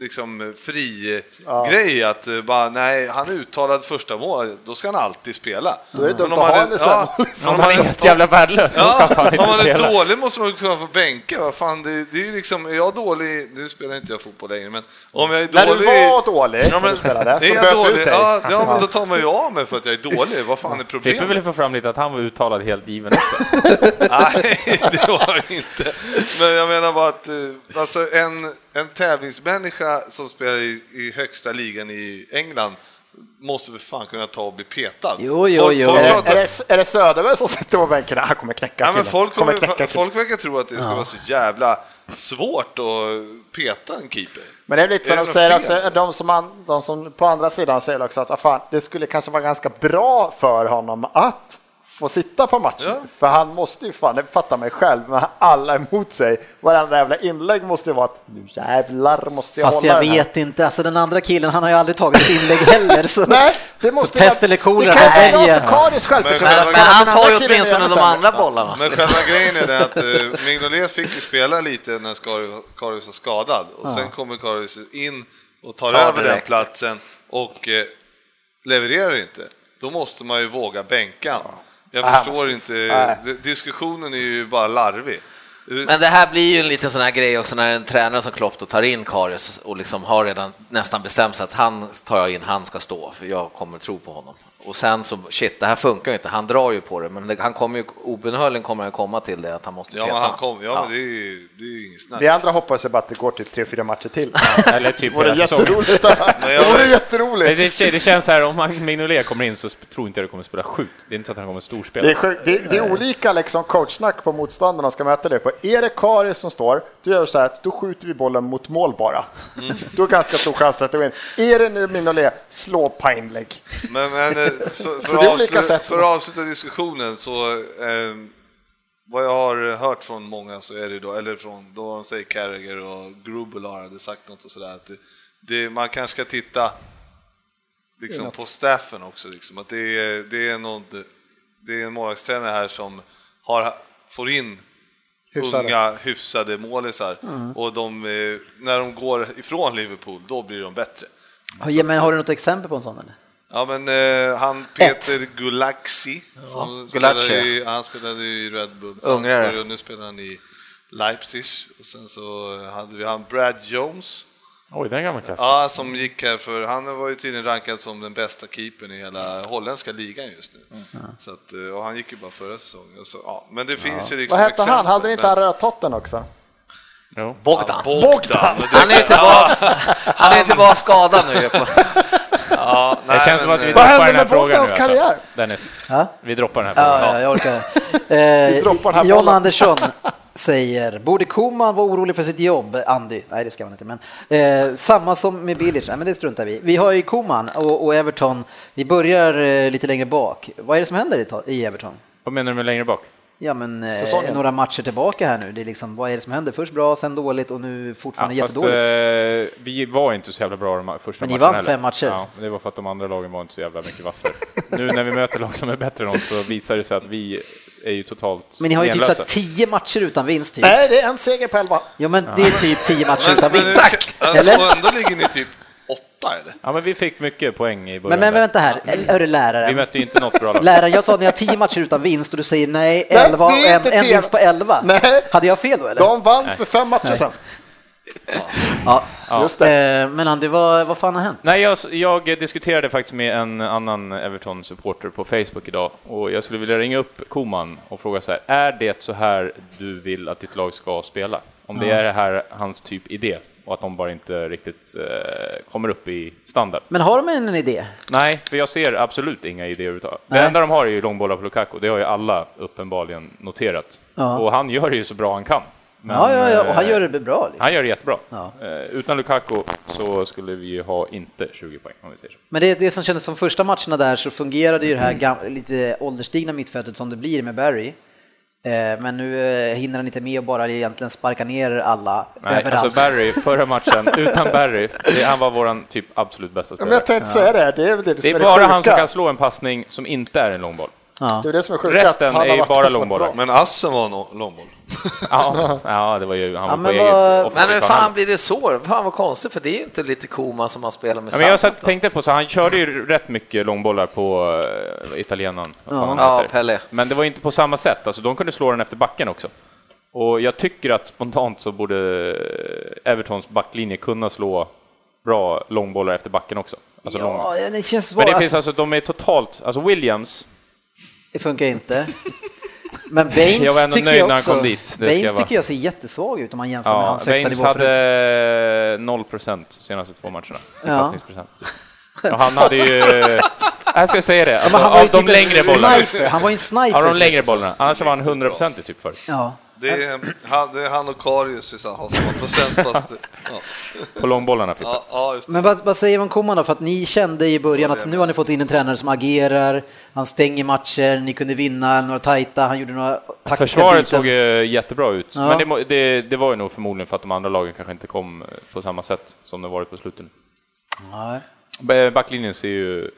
liksom fri eh, grej att eh, bara, nej, han är uttalad första mål, då ska han alltid spela. Då
är det dumt att ha henne sen.
Om han är helt jävla värdelös, då
Ja,
ska han
om man
inte
är
spela.
dålig måste man ju kunna få bänka. Vad fan, det, det är ju liksom, är jag dålig, nu spelar inte jag fotboll längre, men om jag är
När du
dålig...
var dålig
ja,
när
men,
du spelade, så
är jag
böt du
dålig,
ut dig.
ja, ja, men då tar man ju av mig för att jag är dålig. Vad fan är
Fick vi
problemet?
väl få fram lite att han var uttalad helt given också.
Nej, det var jag inte. Men jag menar bara att eh, alltså en, en tävlingsmänniska som spelar i, i högsta ligan i England måste för fan kunna ta och bli petad.
Jo, jo,
folk,
jo.
Folk
Är
pratar,
det, är, det, är det Söderberg som sitter på bänken? Han kommer knäcka
ja, men
killen.
folk, kommer,
knäcka killen.
folk verkar tro att det skulle vara så jävla svårt att peta en keeper.
Men det är lite som
Är
de
det
säger
något
också,
fel?
de som, man, de som på andra sidan säger också att "Ah, fan, det skulle kanske vara ganska bra för honom att få sitta på matchen.
Ja.
För han måste ju fan, det fattar mig själv, men alla är emot sig. Varenda jävla inlägg måste ju vara att nu jävlar måste jag
Fast
hålla
jag
den här."
vet inte, alltså den andra killen han har ju aldrig tagit ett inlägg heller. Så,
Nej, det måste
så pest eller kolera,
Det kan
han
ju vara
väljer.
för Karius självförtroende.
Men-
Men
men
han
Den
tar ju
andra killen är
åtminstone
ännu
de
sämre.
andra bollarna.
Men själva grejen är det att eh, Mignolet fick ju spela lite när Skari- Karius var skadad och sen kommer Karius in och tar
Tar
över den
direkt.
platsen och eh, levererar inte. Då måste man ju våga bänka han. Jag
Nej, han
förstår
måste-
inte,
nej.
d- diskussionen är ju bara larvig.
Men det här blir ju en liten sån här grej också när en tränare som Klopp då tar in Karius och liksom har redan nästan bestämt sig att han tar jag in, han ska stå, för jag kommer tro på honom. Och sen så, shit, det här funkar ju inte, han drar ju på det, men det- han kommer ju, obönhörligen kommer han komma till det att han måste
Ja,
peta
men han
han.
kom, ja,
Ja.
Men det är ju det är ju inget snack.
Vi andra hoppas ju bara att det går typ tre fyra matcher till.
Eller typ
Det vore
hela säsongen.
jätteroligt.
Men
Det
jag-
vore
Nej,
jätteroligt.
det, i och för sig, det känns så här, om han- Mignolet kommer in så sp- tror inte jag det kommer spela sjukt. Det är inte så att han kommer storspela.
Det är, sjukt. det, det är olika liksom coachsnack på motståndarna ska möta dig på. Är det Karius som står, då gör vi så här att då skjuter vi bollen mot mål bara.
Mm.
Då är det ganska stor chans att det går in. Är det nu Minolet, slå på inlägg.
Men, men eh, för, för,
Så det är olika
att avsluta,
sätt.
för att avsluta diskussionen så eh, vad jag har hört från många så är det då, eller från då de säger Carragher och Grubelar hade sagt något och sådär att det, det, man kanske ska titta liksom, på staffen också liksom, att det är, det är, någon, det är en målvaktstränare här som har, får in
Hyfsade. Mm.
unga hyfsade målisar och de, eh, när de går ifrån Liverpool då blir de bättre.
Ja, men har du något exempel på en sån? Eller?
Ja men eh, han Peter Gulaxi, som
Gulaxi,
spelade i, han spelade i Red Bull
Ungrare.
Salzburg och nu spelar han i Leipzig. Och sen så eh, hade vi han Brad Jones,
Oj, den gamla klassen.
ja, som gick här för han var ju tydligen rankad som den bästa keepern i hela holländska ligan just nu. Så att, eh, och han gick ju bara förra säsongen. Och Så, ja, men det finns ju liksom
Vad hette han?
exempel,
Hade inte
men-
han rödtotten också?
Bogdan.
Bogdan!
Han är ju tillbaks, han är ju tillbaks skadad nu. på-
Ja,
Det
nej,
känns som
men,
att vi
eh,
Vad
droppar
händer
den här
med
frågan nu.
Bogdans karriär?
Alltså. Dennis,
Ja?
vi droppar den här
Ja,
frågan.
ja, jag orkar. Eh,
droppar den här
John
bollen.
Andersson säger, borde Koman vara orolig för sitt jobb? Andy, nej det ska man inte, men eh, samma som med Bilic, nej men det struntar vi i. Vi har ju Koman och, och Everton, vi börjar eh, lite längre bak. Vad är det som händer i, ta- i Everton?
Vad menar du med längre bak?
Ja men eh,
Säsongen.
några matcher tillbaka här nu, det är liksom, vad är det som händer? Först bra, sen dåligt och nu fortfarande
Ja, fast,
jättedåligt.
eh, vi var inte så jävla bra de här första
Men ni
matcherna
vann
heller.
fem matcher.
Ja, det var för att de andra lagen var inte så jävla mycket vassare. nu när vi möter lag som är bättre än oss så visar det sig att vi är ju totalt
Men ni har ju typ
menlösa.
såhär tio matcher utan vinst typ.
Nej, det är en seger på elva.
Ja men det är typ tio matcher utan
men-
vinst.
Alltså,
Eller?
och ändå ligger ni typ åtta eller?
Ja, men vi fick mycket poäng i
Men,
början.
men
där.
vänta här, hörru läraren.
Vi mötte ju inte något bra lag.
Läraren, jag sa att ni har 10 matcher utan vinst och du säger nej,
Nej,
11 och
det är
en,
inte
en
tio.
vinst på 11.
Nej.
Hade jag fel då eller?
De vann för fem matcher sedan.
Ja.
Just det.
Eh, Men Andy, vad, vad fan har hänt?
Nej, jag, jag diskuterade faktiskt med en annan Everton-supporter på Facebook idag och jag skulle vilja ringa upp Koman och fråga så här, är det så här du vill att ditt lag ska spela? Om det är det här hans typ idé och att de bara inte riktigt eh, kommer upp i standard.
Men har de en idé?
Nej, för jag ser absolut inga idéer överhuvudtaget. Det
Nej.
enda de har är ju långbollar på Lukaku, det har ju alla uppenbarligen noterat.
Ja.
Och han gör det ju så bra han kan. Men,
ja, ja, ja, och han
eh,
gör det bra. Liksom.
han gör det jättebra.
Ja.
Eh, utan Lukaku så skulle vi ju ha inte 20 poäng om vi säger så.
Men det, det som kändes som första matcherna där så fungerade ju det här gam- lite ålderstigna mittfältet som det blir med Barry. Eh, Men nu eh, hinner han inte med att bara egentligen sparka ner alla
Nej,
överallt.
alltså Barry, förra matchen, utan Barry, det, han var våran typ absolut bästa
Ja, men
spelare.
jag tänkte säga det, det är väl det,
Det är bara han som kan slå en passning som inte är en långboll.
ja.
Det är det som är sjukt.
Resten är ju bara långbollar.
Men Assen var en långboll.
Ja, ja, det var ju, han
Ja,
var på
men
eget
vad-
Men
offensiv
hur
hand.
fan blir det så? Fan vad konstigt, för det är ju inte lite Koman som man spelar med
Ja, men jag satt,
Southampton.
tänkte på så han körde ju rätt mycket långbollar på uh, italienaren. vad fan han
Ja,
heter.
Pelle.
Men det var inte på samma sätt, alltså de kunde slå den efter backen också. Och jag tycker att spontant så borde Evertons backlinje kunna slå bra långbollar efter backen också. Alltså långa.
ja, det känns svårt.
Men det
Alltså,
finns alltså, de är totalt, alltså Williams,
det funkar inte. Men Baines
Jag var ändå
tycker
nöjd
jag
när han
också,
kom dit, det ska jag
Baines
vara.
tycker jag ser jättesvag ut om man jämför med
ja,
hans högsta
Baines
nivå förut.
hade 0% senaste två matcherna. i
Ja.
passningsprocent. Och han hade ju, jag ska säga det, alltså,
Men han var ju
av de
typ en
längre bollarna.
Sniper. Han var ju en sniper.
Har de längre bollarna? Annars var han 100% i typ förr.
Ja.
Det är han, det är han och Karius i samma- har samma procent fast... Ja,
På långbollarna. typ. Frippe.
ja, ja just det.
Men vad, vad säger man Koman då? För att ni kände i början att nu har ni fått in en tränare som agerar, han stänger matcher, ni kunde vinna några tajta, han gjorde några taktiska
Försvaret
byten.
såg ju jättebra ut,
Ja.
men det, må- det, det var ju nog förmodligen för att de andra lagen kanske inte kom eh, på samma sätt som de varit på slutet.
Nej.
B- Backlinjen ser ju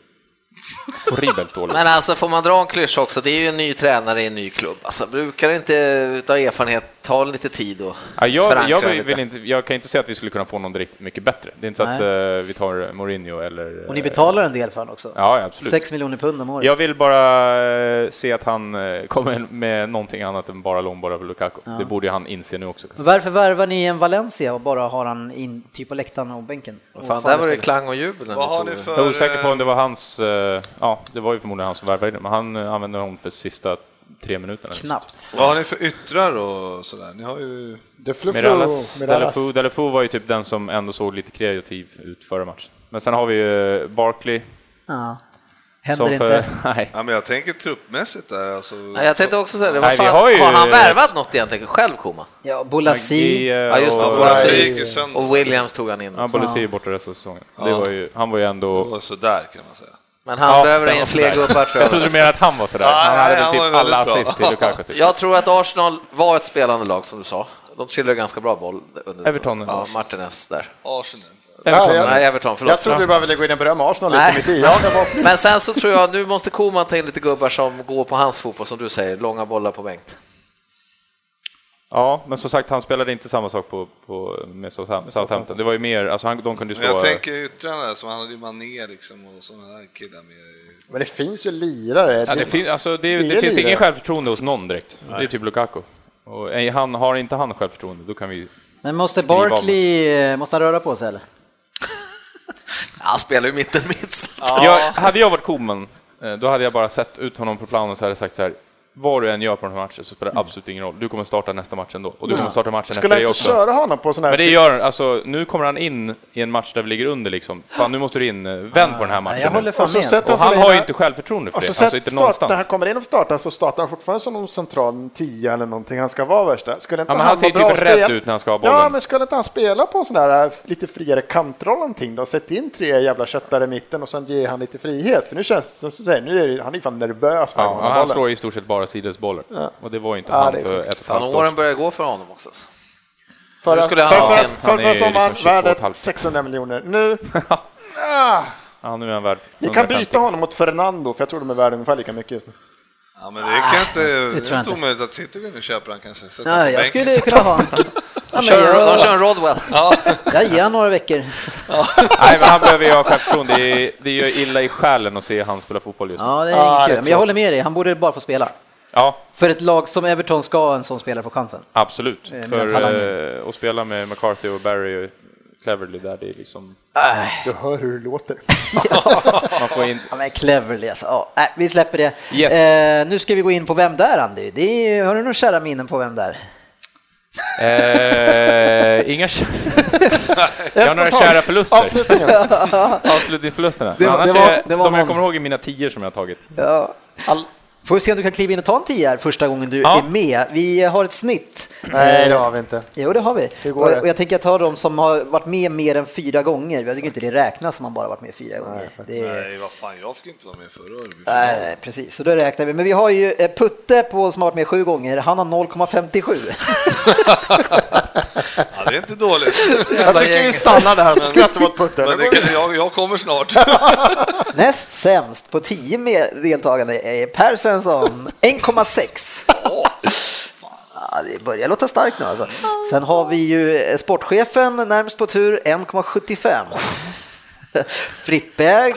horribelt dålig ut.
Men alltså får man dra en klyscha också, det är ju en ny tränare i en ny klubb. Alltså brukar det inte utav erfarenhet ta lite tid och
Ja, jag,
förankra
jag, vill-
lite?
vill inte, jag kan inte säga att vi skulle kunna få någon direkt mycket bättre. Det är inte så att eh, vi tar Mourinho eller...
Och ni
eh,
betalar en del för honom också?
Ja, ja, absolut.
6 miljoner pund om året.
Jag vill bara eh, se att han eh, kommer med någonting annat än bara långbollar för Lukaku. Det borde ju han inse nu också.
Men Varför värvar ni en Valencia och bara har han in typ på läktaren och bänken?
Vad
Och
Fan, där var det
spelar.
klang och jubel. när
Vad
vi
har
tog
ni
det.
för...
Jag är osäker på om
eh,
det var hans, eh, ja det var ju förmodligen han som värvade den, men han eh, använde honom för sista tre minuterna.
Knappt.
Vad har ni för yttrar och sådär? Ni har ju...
Det
Miralas, Delafou,
Miralas.
Delafou var ju typ den som ändå såg lite kreativ ut förra matchen. Men sen har vi ju eh, Barkley.
Ja. Händer
Som för,
inte.
nej.
Ja, men jag tänker truppmässigt där alltså.
Nej, jag tänkte också säga det, vad
Nej, vi
fan, har,
har ju-
han värvat något egentligen själv Koman?
Ja, Bolasi.
Agge, eh,
Ja, just det.
och-
Bara-
Bolassi gick ju sönder.
Och Williams tog han in.
Ja, Bolesi är borta resten av säsongen. Det var ju, han var ju
Det
ändå...
var sådär kan man säga.
Men han
Ja,
behöver
den
in
var
fler
sådär.
gubbar tror
Jag trodde
jag.
du menade att han var sådär.
Nej,
Han
nej,
hade
han var
typ
ju väldigt
alla
bra.
assist till Lukaku. Typ.
Jag tror att Arsenal var ett spelande lag som du sa. De trillade ganska bra boll. Under
Everton.
Ja, Martinez där.
Arsenal.
Everton.
Ja,
Nej, Everton, förlåt.
Jag trodde du bara ville gå in och berömma Arsenal
Nej.
lite mitt i. Ja, det var
Men sen så tror jag, nu måste Koman ta in lite gubbar som går på hans fotboll, som du säger, långa bollar på bänkt.
Ja, men som sagt, han spelade inte samma sak på, på, med Southampton. Southampton. Det var ju mer, alltså han, de kunde ju
Men jag
slå...
tänker yttrarna där, som han hade ju Mané liksom och sådana där killar med.
Men det finns ju lirare.
Ja, det,
finns...
fin, alltså, det,
Ingen
det finns
lirare.
ingen självförtroende hos någon direkt. Det är typ Lukaku. Och, eh, han, har inte han självförtroende, då kan vi...
Men måste
Skriv av
Barkley, eh, måste han röra på sig eller?
Han spelar ju mitten mitt.
Jag, hade jag varit Koman, eh, då hade jag bara sett ut honom på planen och så hade jag sagt så här. Vad du än gör på den här matchen så spelar det absolut ingen roll. Du kommer starta nästa match ändå. Och du kommer starta matchen
Skulle
efter
jag
det
inte
också.
köra honom på sån här...
Men det gör han. Alltså, nu kommer han in i en match där vi ligger under liksom. Fan, nu måste du in. eh, Vänd på den här matchen
Jag håller
nu.
fan
Och så
med.
sätter-
Och
Alltså,
han
det
har ju
där-
inte självförtroende för
Och
det.
så
Alltså
sett
inte
start, när
någonstans.
han kommer in och startar så startar han fortfarande som någon central tia eller någonting. Han ska vara värsta. Skulle inte
Ja, men
han
han ser
vara
ju
bra
typ
och
rädd
spela-
ut när han ska ha bollen.
Ja, men skulle inte han spela på en sån där äh, lite friare kantroll någonting då? Sätt in tre jävla köttare i mitten och sen ge han lite frihet. För nu känns det som du säger, nu är det- han är ju fan nervös varje gång
Ja,
han har
han
bollen.
slår i stort sett bara sidledsbollar. Och det var ju inte
Ja,
han
det är
för
sjukt.
ett och ett
Fan,
halvt år
åren
sedan.
börjar gå för honom också. alltså.
Förra,
Nu skulle han
förra,
ha
förra,
sin-
förra
han är ju
sommaren
liksom 22 och ett
värdet
halvt.
600 miljoner. Nu, ah,
Ja, nu är han värd
ni kan
150.
byta honom mot Fernando för jag tror de är värda ungefär lika mycket just nu.
Ja men det kan inte... Det,
tror
är
jag
inte
inte.
omöjligt att City vill nu köpa den kanske. Sätta
Nej,
på
jag
bänken.
skulle kunna ha honom. Ja, men
Kör, de kör
jag,
en Rodwell.
jag ger honom några veckor.
Nej, men han behöver ju ha självförtroende. Det är- Det gör illa i själen att se han spela fotboll just nu.
Ja, det är
Ja,
inget
det
kul. Men
är
jag
tråkigt.
håller med dig, han borde bara få spela.
Ja,
För ett lag som Everton ska en sån spelare få chansen.
absolut.
Eh, mina
För eh, att spela med McCarthy och Barry och Cleverly där, det är liksom...
Du hör hur det låter.
Man får in...
Ja, men cleverly alltså. Ja, nej, vi släpper det.
Yes.
Eh, nu ska vi gå in på Vem där Andy? Det är, har du några kära minnen på Vem där?
Eh, inga... Jag har några kära förluster.
Avslutningen.
Avslutningsförlusterna.
Det var-
Annars
det var-
är
det var
de jag
någon.
kommer ihåg är mina tior som jag har tagit.
Ja.
All,
Får vi se om du kan kliva in och ta en 10 här första gången du
Ja.
är med. Vi har ett snitt.
Nej, det
Eh,
har vi inte.
Jo, det har vi.
Hur går
och,
det?
och jag tänker att ta de som har varit med mer än fyra gånger. Jag tycker inte det räknas om man bara varit med fyra gånger. Det är-
Nej, vad fan, jag fick inte vara med förra året. Vi får-
Nej, nej, precis. Så då räknar vi. Men vi har ju eh, Putte på, som har varit med sju gånger. Han har 0,57.
Ja, det är inte dåligt.
Jag tycker vi stannar där så skrattar vi åt Putte.
Men
Nu
det
går vi-
kan, jag, jag kommer snart.
Näst sämst på 10 med deltagande är Per Svensson, 1,6. Ja, det börjar låta starkt nu alltså. Sen har vi ju eh, sportchefen närmst på tur, 1,75. Frippe är eh,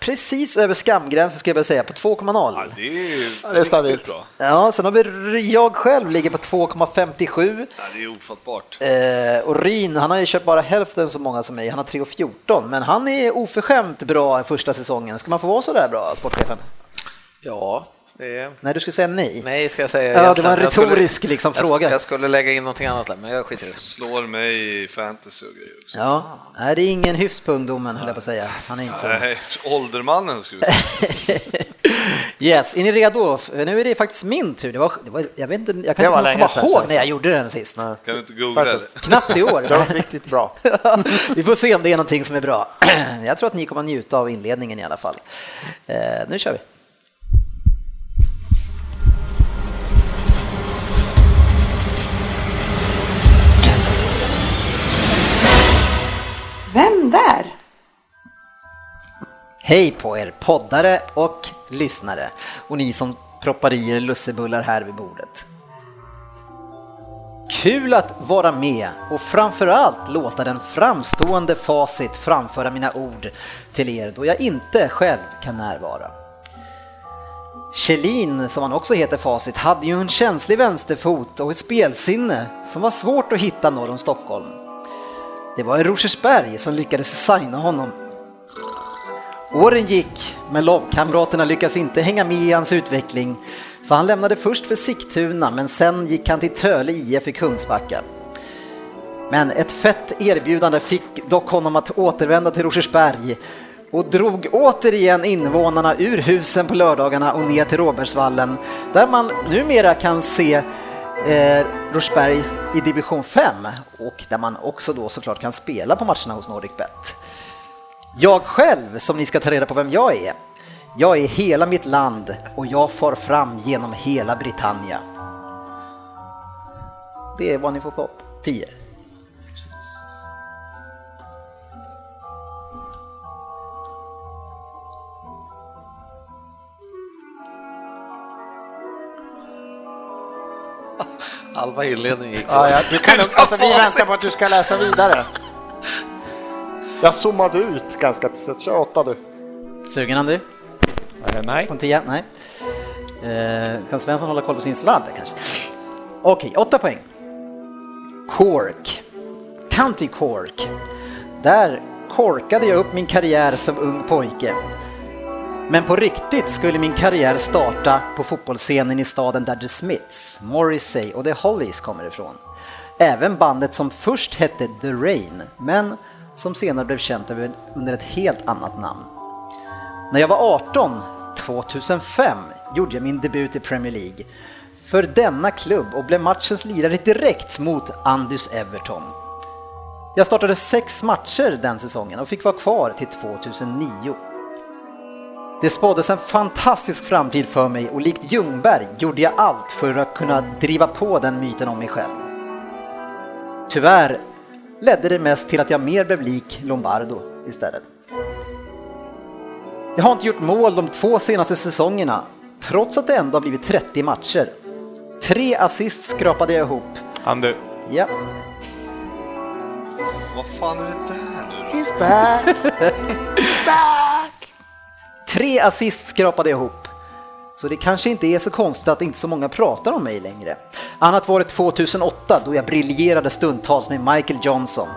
precis över skamgränsen ska jag börja säga, på 2,0.
Ja, det är,
det är stabilt.
riktigt bra.
Ja, sen har vi jag själv ligger på 2,57
Ja, det är ofattbart.
eh, och Ryn han har ju kört bara hälften så många som mig, han har 3,14 men han är oförskämt bra i första säsongen. Ska man få vara så där bra, sportchefen?
Ja, det är...
Nej, du skulle säga nej.
Nej, ska jag säga.
Ja, det
egentligen.
var en
Jag skulle-
retorisk, liksom,
jag sk-
fråga.
Jag skulle lägga in någonting annat där, men jag skiter i det.
Slår mig i fantasy och grejer också.
Ja, nej, det är ingen hyfs på ungdomen höll jag på att säga. Han är inte så.
Nej, åldermannen skulle vi säga.
Yes, är ni redo? F- Nu är det faktiskt min tur. Det var, det var, jag, vet inte, jag kan
Det var
inte
länge
komma
sedan,
ihåg
känns
när jag gjorde den sist.
Kan du inte googla det?
Faktiskt.
Knappt i år.
Det var riktigt bra.
Vi får se om det är någonting som är bra. Jag tror att ni kommer njuta av inledningen i alla fall. Eh, nu kör vi.
Vem där?
Hej på er poddare och lyssnare och ni som proppar i er lussebullar här vid bordet. Kul att vara med och framförallt låta den framstående Facit framföra mina ord till er då jag inte själv kan närvara. Kjellin, som han också heter Facit, hade ju en känslig vänsterfot och ett spelsinne som var svårt att hitta norr om Stockholm. Det var i Rosersberg som lyckades signa honom Åren gick, men lagkamraterna lyckas inte hänga med i hans utveckling. Så han lämnade först för Sigtuna, men sen gick han till Töle IF i Kungsbacka. Men ett fett erbjudande fick dock honom att återvända till Rosersberg och drog återigen invånarna ur husen på lördagarna och ner till Råbergsvallen där man numera kan se eh, Rosersberg i division 5 och där man också då såklart kan spela på matcherna hos NordicBet. Jag själv, som ni ska ta reda på vem jag är. Jag är hela mitt land och jag far fram genom hela Britannia. Det är vad ni får på 10.
Halva inledningen gick
Ja, ja, du kan, nog- alltså, vi
Facit.
väntar på att du ska läsa vidare. Jag zoomade ut ganska så kör åtta du.
Sugen Andrew?
Eh, Nej.
På en 10? Nej. Eh, kan Svensson hålla koll på sin sladd kanske? Okej, 8 poäng. Cork. County Cork. Där korkade jag upp min karriär som ung pojke. Men på riktigt skulle min karriär starta på fotbollsscenen i staden där The Smiths, Morrissey och The Hollies kommer ifrån. Även bandet som först hette The Rain, men som senare blev känt över- under ett helt annat namn. När jag var 18, 2005, gjorde jag min debut i Premier League för denna klubb och blev matchens lirare direkt mot Andys Everton. Jag startade sex matcher den säsongen och fick vara kvar till 2009. Det spåddes en fantastisk framtid för mig och likt Ljungberg gjorde jag allt för att kunna driva på den myten om mig själv. Tyvärr ledde det mest till att jag mer blev lik Lombardo istället. Jag har inte gjort mål de två senaste säsongerna, trots att det ändå har blivit 30 matcher. Tre assist skrapade jag ihop.
Han du,
Ja.
Vad fan är det där nu då?
He's back.
Tre assist skrapade jag ihop. Så det kanske inte är så konstigt att inte så många pratar om mig längre. Annat var det 2008 då jag briljerade stundtals med Michael Johnson.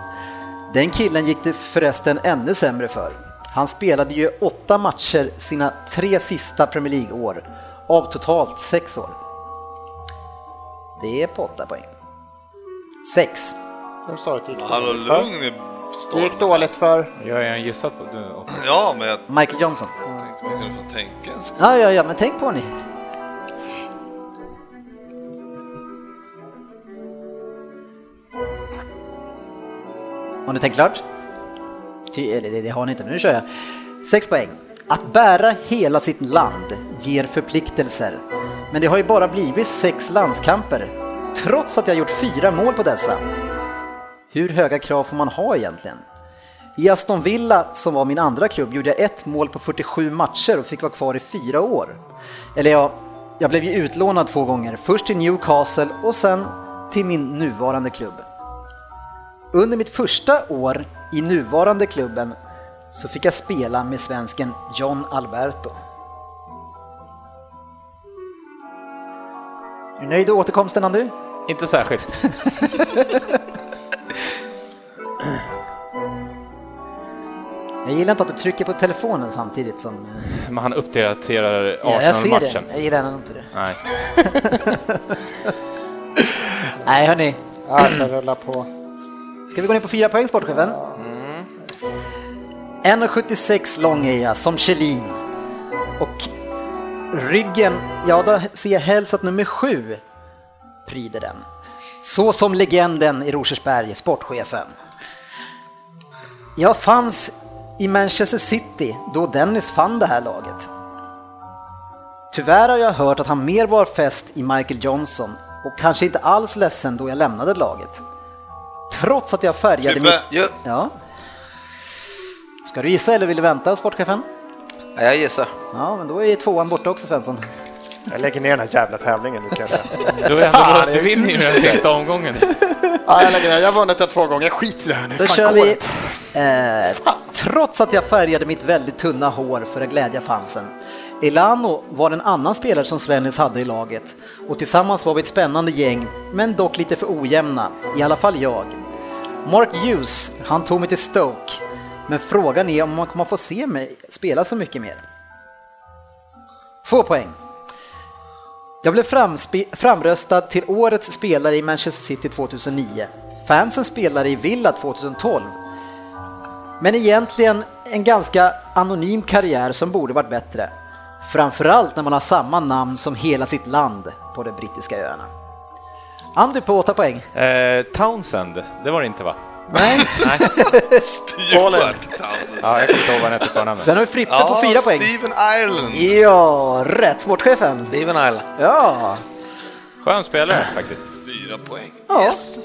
Den killen gick det förresten ännu sämre för. Han spelade ju åtta matcher sina tre sista Premier League-år, av totalt sex år. Det är på åtta poäng. Sex.
Vem sa det tidigare?
Hallå, lugn i
Det gick
stormen.
dåligt för...
jag har redan gissat på du,
Ja, men jag
Michael Johnson.
tänkte man kunde få tänka en sekund.
Ja, ja, ja, men tänk på ni. Har ni tänkt klart? Ty, eller det, det har ni inte, men nu kör jag. Sex poäng. Att bära hela sitt land ger förpliktelser. Men det har ju bara blivit sex landskamper, trots att jag gjort fyra mål på dessa. Hur höga krav får man ha egentligen? I Aston Villa, som var min andra klubb, gjorde jag ett mål på 47 matcher och fick vara kvar i fyra år. Eller ja, jag blev ju utlånad två gånger, först till Newcastle och sen till min nuvarande klubb. Under mitt första år i nuvarande klubben så fick jag spela med svensken John Alberto. Är du nöjd med återkomsten Andy?
Inte särskilt.
Jag gillar inte att du trycker på telefonen samtidigt som...
Men han uppdaterar
Ja, jag ser det.
Arsenal-matchen.
Jag gillar nog inte det.
Nej.
Nej hörni,
Ja, jag rullar på.
Ska vi gå ner på fyra poäng, sportchefen? 1,76 lång är jag, som Kjellin. Och ryggen, ja då ser jag helst att nummer sju pryder den. Så som legenden i Rosersberg, sportchefen. Jag fanns i Manchester City då Dennis fann det här laget. Tyvärr har jag hört att han mer var fäst i Michael Johnson och kanske inte alls ledsen då jag lämnade laget. Trots att jag färgade
Frippe.
mitt...
Jo,
Ja. Ska du gissa eller vill du vänta, sportchefen?
ja, jag gissar.
Ja, men då är tvåan borta också, Svensson.
Jag lägger ner den här jävla tävlingen nu kan jag säga.
Du har ändå bara att du vinner ju den sista omgången.
Ja, jag lägger ner. Jag har vunnit det två gånger. Skit i det här nu.
Då
Fan,
kör
går
vi.
det?
Eh, trots att jag färgade mitt väldigt tunna hår för att glädja fansen. Elano var en annan spelare som Svennis hade i laget och tillsammans var vi ett spännande gäng, men dock lite för ojämna, i alla fall jag. Mark Hughes, han tog mig till Stoke, men frågan är om man kommer få se mig spela så mycket mer. Två poäng. Jag blev framspe- framröstad till årets spelare i Manchester City 2009. Fansen spelare i Villa 2012. Men egentligen en ganska anonym karriär som borde varit bättre. Framförallt när man har samma namn som hela sitt land på de brittiska öarna. Andy på 8 poäng.
Eh, Townsend, det var det inte va?
Nej.
Nej,
Stuart Townsend.
ja, jag kommer inte ihåg vad han hette på namnet.
Sen har vi Frippe på 4 poäng.
Steven Ireland.
Ja, rätt sportchefen.
Steven Island.
Ja,
Skön spelare faktiskt.
Fyra poäng.
Ja.
Yes.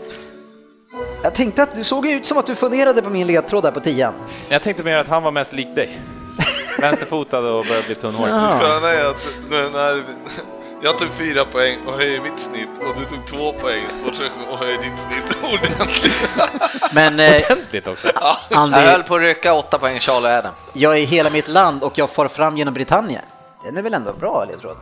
jag tänkte att du såg ut som att du funderade på min ledtråd där på 10.
Jag tänkte mer att han var mest lik dig. Vänsterfotad och började bli tunnhårig.
Ja.
Det sköna är att nu när jag tog fyra poäng och höjer mitt snitt och du tog två poäng sportchefen och höjer ditt snitt ordentligt.
Men eh,
Ordentligt också.
Jag
Andy,
höll på att rycka åtta poäng Charlie Adam.
jag är hela mitt land och jag far fram genom Britannien. Den är väl ändå bra ledtråd?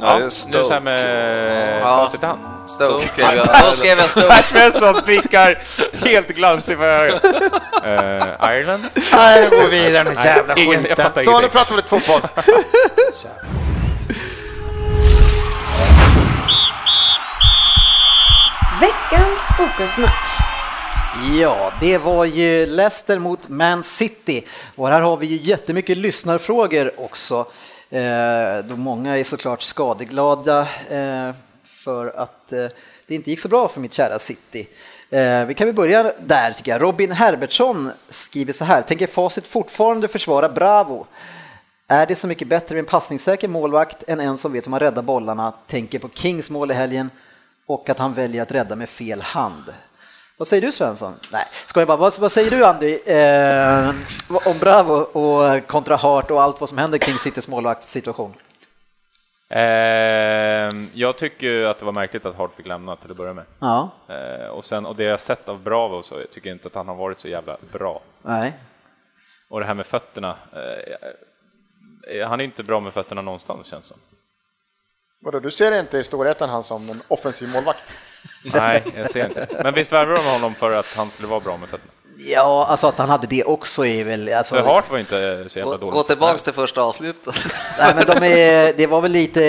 Ja, nu
Stoke.
så här med facit i hand.
Stoke.
Stoke.
skrev jag. Då skrev jag Stoke.
Svensson prickar helt glansig för ögonen. Eh, Ireland?
Nej, jag går vidare med jävla
ingen- jag fattar
skiten. Så nu
ingenting.
pratar vi lite fotboll.
Veckans fokusmatch.
Ja, det var ju Leicester mot Man City och här har vi ju jättemycket lyssnarfrågor också. Eh, då många är såklart skadeglada eh, för att eh, det inte gick så bra för mitt kära City. Eh, vi kan väl börja där tycker jag. Robin Herbertsson skriver så här, tänker facit fortfarande försvara Bravo? Är det så mycket bättre med en passningssäker målvakt än en som vet hur man räddar bollarna, tänker på Kings mål i helgen och att han väljer att rädda med fel hand? Vad säger du Svensson? Nej, ska jag bara. Vad, vad säger du Andy? Eh, om Bravo och kontra Hart och allt vad som händer kring Citys målvaktssituation?
Ehm, jag tycker ju att det var märkligt att Hart fick lämna till att börja med.
Ja,
Eh, och, sen, och det jag har sett av Bravo så jag tycker jag inte att han har varit så jävla bra.
nej.
Och det här med fötterna. eh, eh, han är inte bra med fötterna någonstans känns det som.
Vadå, du ser inte i storheten han som en offensiv målvakt?
Nej, jag ser inte. Men visst värvade de honom för att han skulle vara bra med fötterna?
Ja, alltså att han hade det också är väl... Alltså,
Så Hart var inte eh, så jävla
Gå,
dålig.
gå tillbaks till första avsnittet.
nej, men de är, det var väl lite...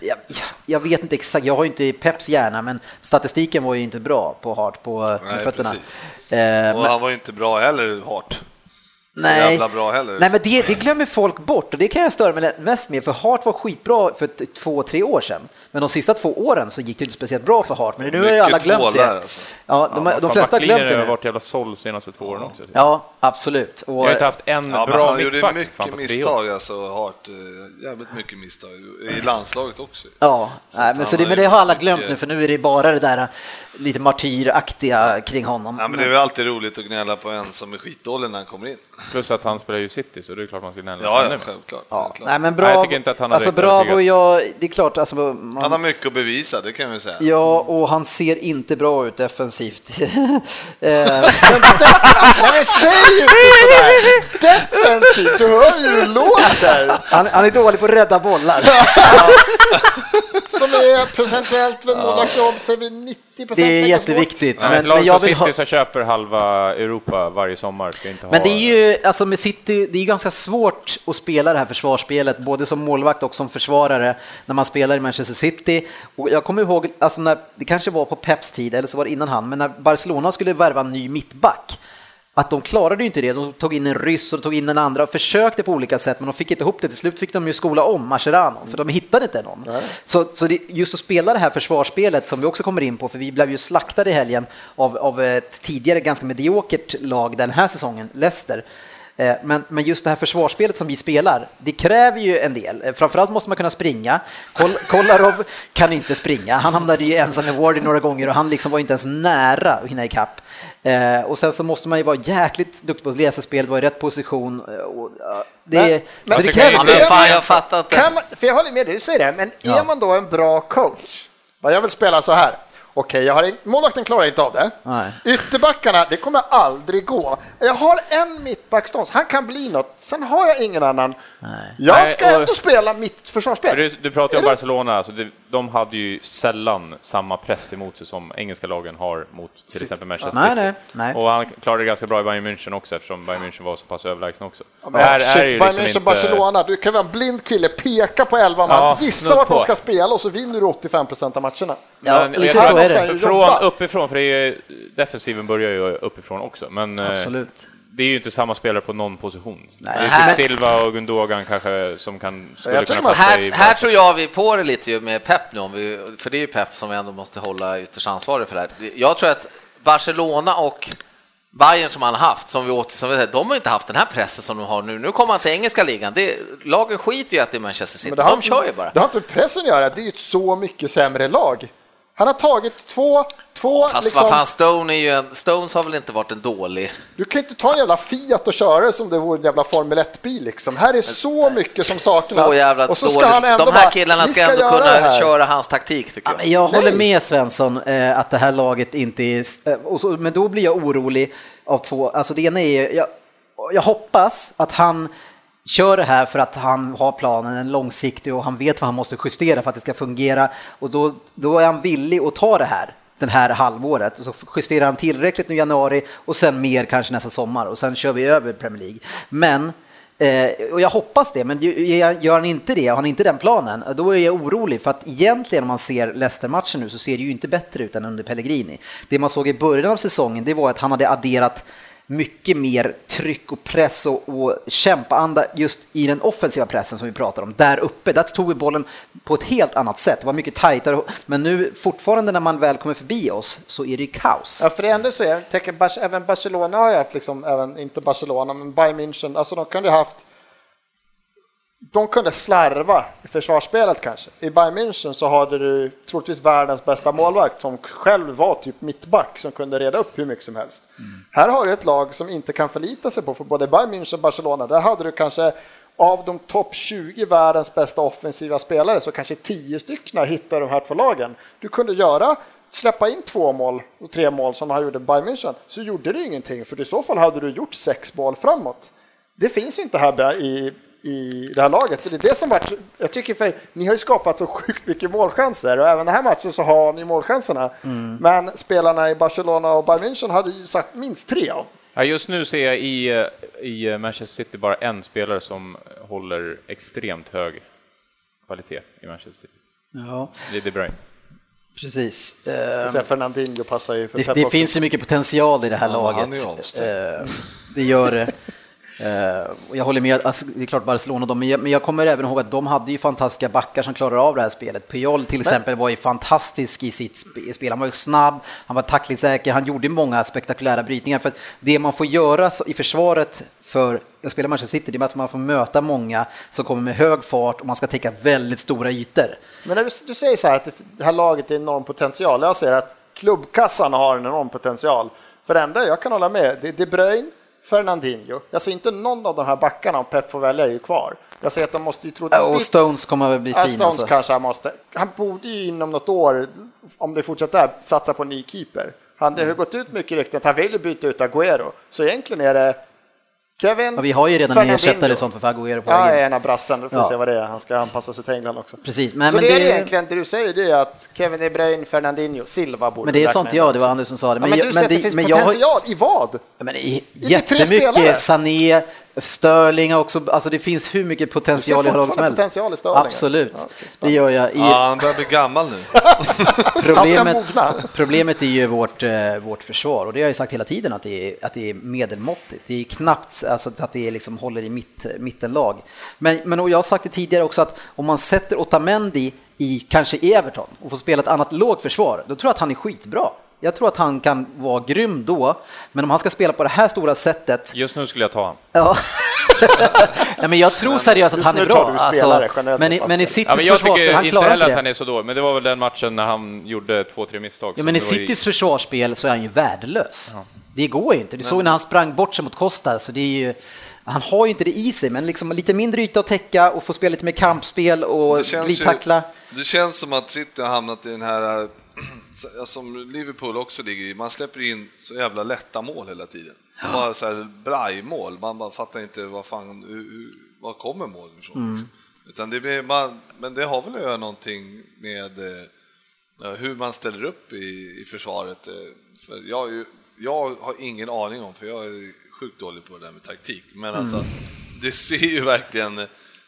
Jag, jag vet inte exakt, jag har ju inte Peps hjärna, men statistiken var ju inte bra på Hart på med
Nej,
fötterna.
precis.
Eh, men-
Och han var ju inte bra heller, Hart.
Nej.
jävla bra heller.
Nej, men det, det glömmer folk bort och det kan jag störa mig mest med för Hart var skitbra för t- två, tre år sedan. Men de sista två åren så gick det inte speciellt bra för Hart, men nu har ju
Mycket
alla glömt det.
tvålar, alltså.
Ja, de, de flesta har glömt det
har
nu.
varit jävla såld senaste två åren också.
Ja, absolut. Och,
Jag har inte haft en
Ja, men
Mm, bra
han gjorde
mittback, fan,
mycket
på tre år.
misstag alltså, Hart. eh, Jävligt mycket misstag. I landslaget också.
Ja,
Så
nej, men,
att han
så det,
har
men
ju
det har alla
mycket-
glömt nu för nu är det bara det där eh, lite martyraktiga kring honom.
Ja, men det är väl alltid roligt att gnälla på en som är skitdålig när han kommer in.
Plus att han spelar ju City, så det är klart man ska gnälla
Ja,
ännu
ja
mer.
självklart.
Ja,
självklart.
nej, men bra,
Nej, jag tycker inte att han har
alltså,
direkt
Bravo och
övertygat.
jag, det är klart, alltså, man,
Han har mycket att bevisa, det kan vi säga.
ja, och han ser inte bra ut defensivt. Eh,
Nej, säg inte sådär! Defensivt, du hör ju hur det låter!
han, han är dålig på att rädda bollar.
Som är procentuellt vid målvaktsjobb så är vi 90 procent.
Det är jätteviktigt.
Nej,
Men,
ett lag
men, jag
som
vill ha,
City som köper halva Europa varje sommar ska inte ha...
men det är ju, alltså med City, det är ju ganska svårt att spela det här försvarsspelet, både som målvakt och som försvarare, när man spelar i Manchester City. Och jag kommer ihåg, alltså när, det kanske var på Peps tid, eller så var det innan han, men när Barcelona skulle värva en ny mittback, att de klarade ju inte det. De tog in en ryss och de tog in en andra och försökte på olika sätt, men de fick inte ihop det. Till slut fick de ju skola om Mascherano, för de hittade inte någon. Så, så det, just att spela det här försvarsspelet som vi också kommer in på, för vi blev ju slaktade i helgen av, av ett tidigare ganska mediokert lag den här säsongen, Leicester. Eh, Men, men just det här försvarsspelet som vi spelar, det kräver ju en del. Eh, Framförallt måste man kunna springa. Kol- Kolarov kan inte springa. Han hamnade ju ensam i Wardy några gånger och han liksom var inte ens nära att hinna ikapp. Eh, och sen så måste man ju vara jäkligt duktig på att läsa spelet, vara i rätt position. eh, Och, ja, det,
Men-
men,
men-
det
det
kräver
Ja,
kan
ju
ju-
men fan, jag fattar inte.
Kan man, för jag håller med dig, du säger det, men
Ja.
är man då en bra coach? Vad jag vill spela så här. Okej, jag har en, målvakten klarar inte av det.
Nej.
Ytterbackarna, det kommer aldrig gå. Jag har en mittbackstånd, han kan bli något. Sen har jag ingen annan. Jag
Nej,
ska
och-
ändå spela mitt försvarsspel.
För Du, du pratar ju om
Eller?
Barcelona, alltså det, de hade ju sällan samma press emot sig som engelska lagen har mot till exempel Manchester
Nej,
City.
nej, nej.
Och han klarade det ganska bra i Bayern München också eftersom Bayern München var så pass överlägsen också.
Men shit,
liksom
Bayern München, Barcelona, du kan vara en blind kille, peka på elva man,
Ja,
gissa
snudd
vart de
på.
ska spela och så vinner du 85 procent av matcherna.
Ja,
Men- och
lite
jag
så
tror-
är det.
måste-
Från
Jobba.
uppifrån, för det är, ju- defensiven börjar ju uppifrån också. Men eh,
Absolut.
det är ju inte samma spelare på någon position.
Nej.
Det är
Men-
typ Silva och Gundogan kanske som kan, skulle
Jag
kunna
tycker man-
passa i...
Här, här tror jag vi är på det lite ju med Pep nu, om vi, för det är ju Pep som vi ändå måste hålla ytterst ansvarig för det här. Jag tror att Barcelona och Bayern som han haft, som vi åter, som vi säger, de har inte haft den här pressen som de har nu. Nu kommer han till engelska ligan. Det, lagen skiter ju att det är Manchester City.
Men det
De
har,
kör ju bara.
Det har inte med pressen att göra, det är ju ett så mycket sämre lag. Han har tagit två, två
Fast
liksom,
vad fan, Stone är ju en, Stones har väl inte varit en dålig...
du kan ju inte ta en jävla Fiat och köra det som det vore en jävla Formel 1-bil liksom. Här är så mycket som saknas.
Så jävla
och så ska
dålig.
han ändå
De här
bara,
killarna
"Vi
ska ändå
göra det
kunna
här."
köra hans taktik tycker
Ja,
jag.
men jag håller
Nej.
med Svensson eh, att det här laget inte är... eh, och så, men då blir jag orolig av två... Alltså det ena är... Jag, jag hoppas att han kör det här för att han har planen en långsiktig och han vet vad han måste justera för att det ska fungera. Och då, då är han villig att ta det här den här halvåret. Så justerar han tillräckligt nu i januari och sen mer kanske nästa sommar och sen kör vi över Premier League. Men Eh, och jag hoppas det, men ju- gör- gör han inte det, har han inte den planen, då är jag orolig. För att egentligen om man ser Leicester-matchen nu så ser det ju inte bättre ut än under Pellegrini. Det man såg i början av säsongen, det var att han hade adderat mycket mer tryck och press och, och kämpaanda just i den offensiva pressen som vi pratar om. Där uppe, där tog vi bollen på ett helt annat sätt. Det var mycket tajtare. Men nu fortfarande när man väl kommer förbi oss så är det ju kaos.
Ja, för det ändå så är, jag tänker, Bas- även Barcelona har ju haft, liksom, även, inte Barcelona, men Bayern München, alltså de kunde ju haft de kunde slarva i försvarsspelet kanske. I Bayern München så hade du troligtvis världens bästa målvakt som själv var typ mittback som kunde reda upp hur mycket som helst. Här har du ett lag som inte kan förlita sig på, för både Bayern München och Barcelona, där hade du kanske av de topp 20 världens bästa offensiva spelare så kanske 10 stycken hittar de här två lagen. Du kunde göra släppa in två mål och tre mål som han gjorde i Bayern München så gjorde du ingenting för i så fall hade du gjort sex mål framåt. Det finns inte här där i, i det här laget. Det är det som varit, jag tycker för ni har ju skapat så sjukt mycket målchanser och även den här matchen så har ni målchanserna.
Mm.
Men spelarna i Barcelona och Bayern München hade ju sagt minst tre av.
Mm.
Ja, just nu ser jag i, eh, i eh, Manchester City bara en spelare som håller extremt hög kvalitet i Manchester City.
Ja,
Det är De Bruyne.
precis. Eh,
Jag säga Fernandinho passar ju för
Det,
Pep
det
också.
finns ju mycket potential i det här
Ja,
laget.
han är ju avstängd.
Eh, det gör det. Eh, och jag håller med, alltså, det är klart Barcelona, de, men jag- men jag kommer även ihåg att de hade ju fantastiska backar som klarade av det här spelet. Puyol till exempel var ju fantastisk i sitt sp- spel, han var ju snabb, han var tacklingssäker, han gjorde många spektakulära brytningar. För att det man får göra så- i försvaret för att spela Manchester City, det är att man får möta många som kommer med hög fart och man ska täcka väldigt stora ytor.
Men när du, du säger så här att det, det här laget är enorm potential. Jag säger att klubbkassan har en enorm potential. För det enda jag kan hålla med, det är De Bruyne, Fernandinho. Jag ser inte någon av de här backarna om Pep får välja är ju kvar. Jag ser att de måste ju troligtvis...
Och
byta-
Stones kommer väl bli
Alltså, Ja,
fin
Stones
alltså.
kanske han måste. Han borde ju inom något år, om det fortsätter här, satsa på en ny keeper. Han,
Mm.
det har ju gått ut mycket rykten att han vill byta ut Agüero. Så egentligen är det Kevin,
Ja, vi har ju redan en
Fernandinho.
ersättare och sånt för Agüero på
Ja,
vägen.
ena brassen. Då får vi
Ja.
se vad det är. Han ska anpassa sig till England också.
Precis, men-
så
men
det är
det-
egentligen det du säger, det är att Kevin De Bruyne, Fernandinho, Silva borde
Men det är
räkna
sånt
in
jag,
också.
det var Anders som sa det.
Ja, men, du säger att det finns
men jag har-
potential i vad?
Ja, Men i-
tre spelare.
jättemycket, Sané, Sterling har också, alltså det finns hur mycket potential
Du ser
i laget som
fortfarande
helst.
potential i Sterling,
Absolut,
alltså. Ja, okej,
det
spännande.
gör jag. I,
Ja, han börjar bli gammal nu.
Han
problemet,
ska mogna.
problemet är ju vårt, eh, vårt försvar och det har jag ju sagt hela tiden att det är, att det är medelmåttigt. Det är knappt alltså, att det är liksom håller i mitt, mittenlag. Men, men och jag har sagt det tidigare också att om man sätter Otamendi i kanske i Everton och får spela ett annat lågt försvar, då tror jag att han är skitbra. Jag tror att han kan vara grym då, men om han ska spela på det här stora sättet
Just nu skulle jag ta han.
Ja. Nej, men jag tror seriöst att
Just
han är
nu
bra.
tar du spelare generellt
men, i,
sett,
men i
alltså.
Citys
Ja, men jag
försvarsspel,
tycker
han
inte
klarar
heller
inte
att han
det.
är så dålig, men det var väl den matchen när han gjorde två, tre misstag.
Ja,
så
men i
det var ju-
Citys försvarsspel så är han ju värdelös. Det går ju inte. Du såg när han sprang bort sig mot Costa, så det är ju... Han har ju inte det i sig, men liksom lite mindre yta att täcka och få spela lite mer kampspel och glidtackla.
Ju, det känns som att City har hamnat i den här, äh, som Liverpool också ligger i, man släpper in så jävla lätta mål hela tiden. Bara så här brajmål, man bara fattar inte vad fan, hur, hur, var kommer målen ifrån?
Mm.
Liksom. Utan det blir, man, men det har väl att göra någonting med eh, Ja, hur man ställer upp i, i försvaret. eh, För jag, är ju- jag har ingen aning om, för jag är sjukt dålig på det där med taktik. Men
Mm.
alltså, det ser ju verkligen... eh,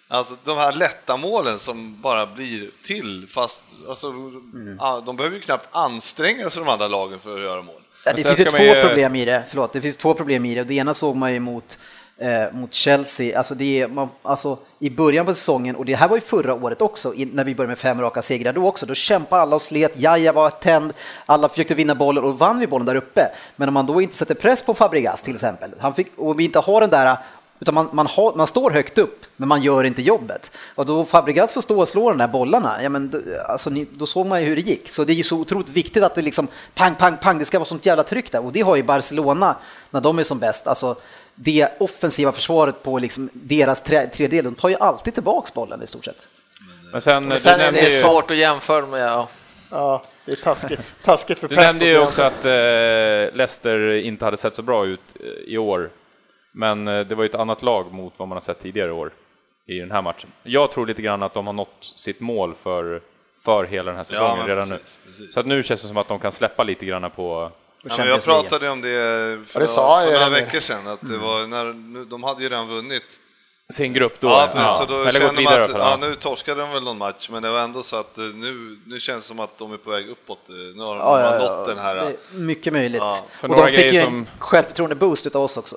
Alltså de här lätta målen som bara blir till, fast alltså,
Mm.
ah, de behöver ju knappt anstränga sig de andra lagen för att göra mål.
Ja,
Och
det
sen
finns ju
ska
två
man ju-
problem i det. Förlåt, det finns två problem i det. Och Det ena såg man ju mot, eh, mot Chelsea. Alltså det är, man, alltså, I början på säsongen, och det här var ju förra året också, i, när vi började med fem raka segrar då också, då kämpade alla och slet, Jaja var tänd, alla försökte vinna bollen och vann vi bollen där uppe. Men om man då inte sätter press på Fabregas till exempel, han fick, och vi inte har den där utan man, man, har, man står högt upp, men man gör inte jobbet. Och då Fabregas får stå och slå de där bollarna, ja, men, då- alltså, ni, då såg man ju hur det gick. Så det är ju så otroligt viktigt att det liksom pang, pang, pang, det ska vara sånt jävla tryck där. Och det har ju Barcelona när de är som bäst. Alltså, det offensiva försvaret på liksom deras tre- tredjedel, de tar ju alltid tillbaks bollen i stort sett.
Men sen,
Men sen
du
är
nämnde
det
ju,
svårt att jämföra med. Ja.
Ja, det är taskigt. taskigt för
Du
Pep
nämnde
och
ju
Björn.
också att eh, Leicester inte hade sett så bra ut eh, i år, men eh, det var ju ett annat lag mot vad man har sett tidigare i år i den här matchen. Jag tror lite grann att de har nått sitt mål för, för hela den här säsongen
men
redan
precis,
nu.
precis.
Så att nu känns det som att de kan släppa lite grann på...
Ja, men jag
Champions League.
pratade ju om det för,
det sa jag
för
ju
några
redan. Mm.
veckor sedan, att det var när, nu, de hade ju redan vunnit.
Sin grupp då,
Ja, precis. Så då
eller gått
känner man
vidare
att,
i alla
ja,
fall.
nu torskade de väl någon match, men det var ändå så att eh, nu, nu känns det som att de är på väg uppåt. eh, Nu har de
Ja, ja, ja.
nått den här... eh,
Det är mycket möjligt.
Ja,
för
och
några
de fick ju
grejer
en
som-
självförtroende-boost utav oss också.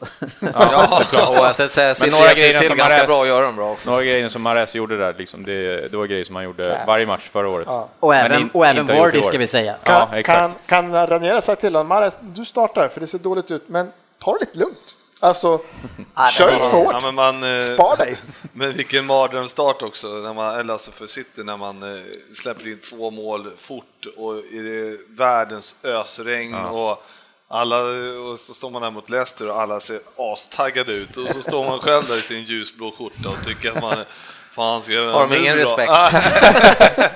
Ja,
Och att det säger
Men
City
några
hjälper ju
grejer
till
som
ganska
Mahrez-
bra och gör dem bra också.
Några grejer som Mares gjorde där, liksom, det, det var grejer som han gjorde varje match förra året.
och
Men
även,
in-
och även
inte har gjort i
Vardy
år.
ska vi säga.
Ja,
Kan, kan,
exakt.
kan Ranieri säga till honom, Mares, du startar för det ser dåligt ut, men ta det lite lugnt. Alltså, kör inte för hårt.
Ja, men man, eh,
Spar dig.
Men vilken mardrömsstart också, när man, eller alltså för City, när man eh, släpper in två mål fort och i det världens ösregn och alla, och så står man där mot Leicester och alla ser astaggade ut och så står man själv där i sin ljusblå skörta och tycker att man eh, Fan, ska jag
Har de ingen
nu då?
respekt?
Ah,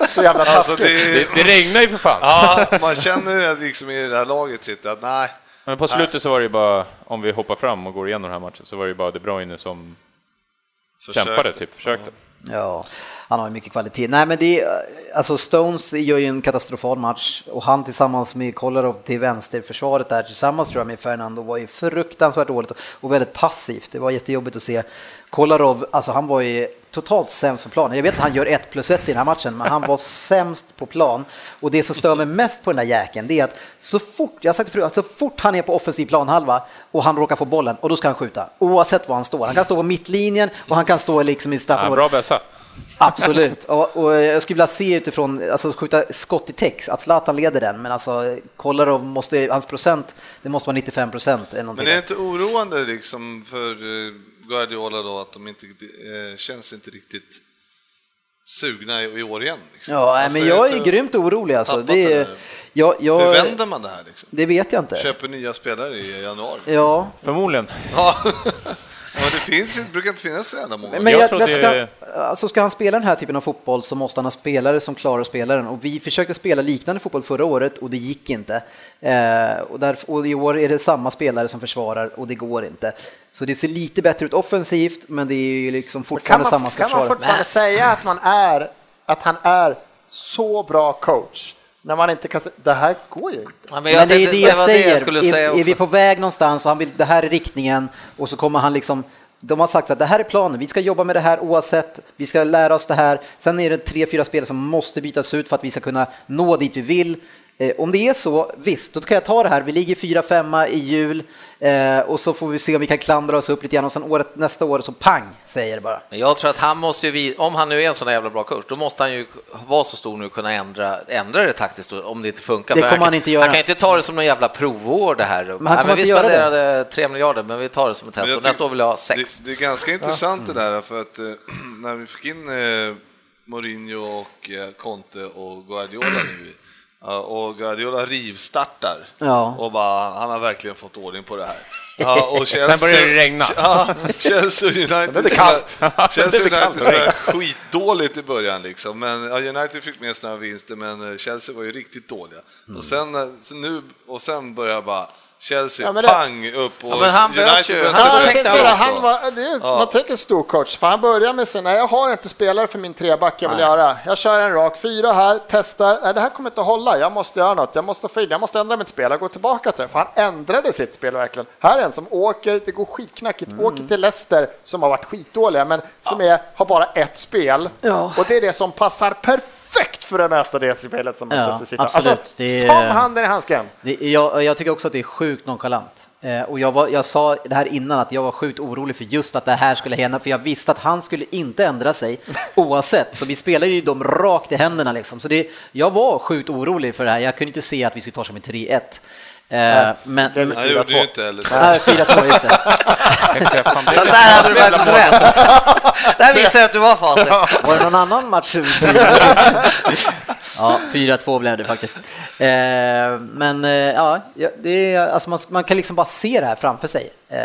Så jävla
Alltså
taskigt.
det,
Det, det regnar ju för fan!
ja, man känner att liksom i det här laget sitter att nej,
Men på slutet så var det ju bara, om vi hoppar fram och går igenom den här matchen, så var det ju bara De Bruyne som
försök.
kämpade, typ, försökte.
Ja, han har ju mycket kvalitet. Nej, men det är, alltså Stones gör ju en katastrofal match och han tillsammans med Kolarov till vänsterförsvaret där tillsammans tror jag med Fernando var ju fruktansvärt dåligt och väldigt passivt. Det var jättejobbigt att se. Kolarov, alltså han var ju totalt sämst på planen. Jag vet att han gör 1 plus 1 i den här matchen, men han var sämst på plan. Och det som stör mig mest på den där jäkeln, det är att så fort, jag har sagt det förut, så fort han är på offensiv planhalva och han råkar få bollen, och då ska han skjuta. Oavsett var han står. Han kan stå på mittlinjen och han kan stå liksom i
Ja,
straffområdet.
bra bössa.
Absolut, och, och jag skulle vilja se utifrån, alltså skjuta skott i text, att Zlatan leder den, men alltså kollar och måste, hans procent, det måste vara 95 procent eller någonting.
Men är det inte oroande liksom för eh, Guardiola då att de inte eh, känns inte riktigt sugna i i år igen? Liksom?
Ja, nej,
Alltså,
men jag
vet
är
inte-
grymt orolig alltså.
tappat
Det,
den
är,
här.
jag,
Hur
jag,
vänder man det här liksom?
det vet jag inte.
Köper nya spelare i januari?
Ja,
Förmodligen.
Ja, men det finns, inte- brukar inte finnas så jävla många.
Men jag,
Jag
jag
tror
ska,
det-
alltså ska han spela den här typen av fotboll så måste han ha spelare som klarar spelaren. Och vi försökte spela liknande fotboll förra året och det gick inte. Eh, och, där, och i år är det samma spelare som försvarar och det går inte. Så det ser lite bättre ut offensivt, men det är ju liksom
Kan
fortfarande
man,
samma som
kan man
försvarar.
fortfarande säga att, man är, att han är så bra coach när man inte kan säga det här går ju inte?
Ja, men
Men
jag
det är
tänkte-
det jag
var
säger.
jag skulle säga
är, är vi
också.
på väg någonstans och han vill, det här är riktningen och så kommer han liksom de har sagt att det här är planen, vi ska jobba med det här oavsett, vi ska lära oss det här. Sen är det tre, fyra spelare som måste bytas ut för att vi ska kunna nå dit vi vill. Eh, om det är så, visst, då kan jag ta det här. Vi ligger fyra, femma i jul eh, och så får vi se om vi kan klandra oss upp lite grann och sen året, nästa år så pang, säger det bara.
Men jag tror att han måste ju, vi- om han nu är en sån där jävla bra coach, då måste han ju vara så stor nu och kunna ändra, ändra det taktiskt då, om det inte funkar.
Det
För
kommer
kan-
han inte göra.
Han kan inte ta det som någon jävla provår det här.
han kommer
Nej, men vi
inte göra det.
spenderade 3 miljarder, men vi tar det som ett
Men
test.
jag
Och nästa
tycker-
år vill jag ha 6.
Det, det är ganska intressant det där, för att eh, när vi fick in eh, Mourinho och eh, Conte och Guardiola nu, ja, och Guardiola rivstartar
Ja.
och bara, han har verkligen fått ordning på det här. Ja, och Chelsea,
börjar det regna.
Ja, Chelsea United,
blev det kallt.
Chelsea
blev kallt.
United spelade skitdåligt i början liksom, men ja, United fick med sina vinster, men eh, Chelsea var ju riktigt dåliga. Och sen, eh, så nu, och sen börjar bara Chelsea,
Ja, men det-
pang upp och
Ja, men han
United
möts ju.
börjar
Han
sätta
Ja, jag
upp
tänkte
dem.
säga det, han var, det är, Man tänker stor coach, för han börjar med sig, nej jag har inte spelare för min treback jag vill göra. Jag kör en rak fyra här, testar, nej det här kommer inte att hålla, jag måste göra något, jag måste få in, jag måste ändra mitt spel, jag går tillbaka till det. För han ändrade sitt spel verkligen. Här är en som åker, det går skitknackigt,
Mm.
åker till Leicester som har varit skitdåliga, men som är, har bara ett spel.
Ja.
Och det är det som passar perfekt för att möta det spelet som
Ja,
Manchester City har.
absolut.
Alltså,
Det är-
som handen i handsken.
Det, jag, jag tycker också att det är sjukt nonchalant. Eh, och jag, var, jag sa det här innan att jag var sjukt orolig för just att det här skulle hända, för jag visste att han skulle inte ändra sig oavsett. Så vi spelade ju dem rakt i händerna liksom. Så det, jag var sjukt orolig för det här. Jag kunde inte se att vi skulle torska med 3-1. Eh, men...
det är
Han gjorde ju inte heller så.
Nej, 4-2, just det.
Så där hade du faktiskt rätt. Där visar jag att du var facit.
Var det någon annan match? ja, 4-2 blev det faktiskt. Eh, men eh, ja, det är, alltså man, man kan liksom bara se det här framför sig. Eh,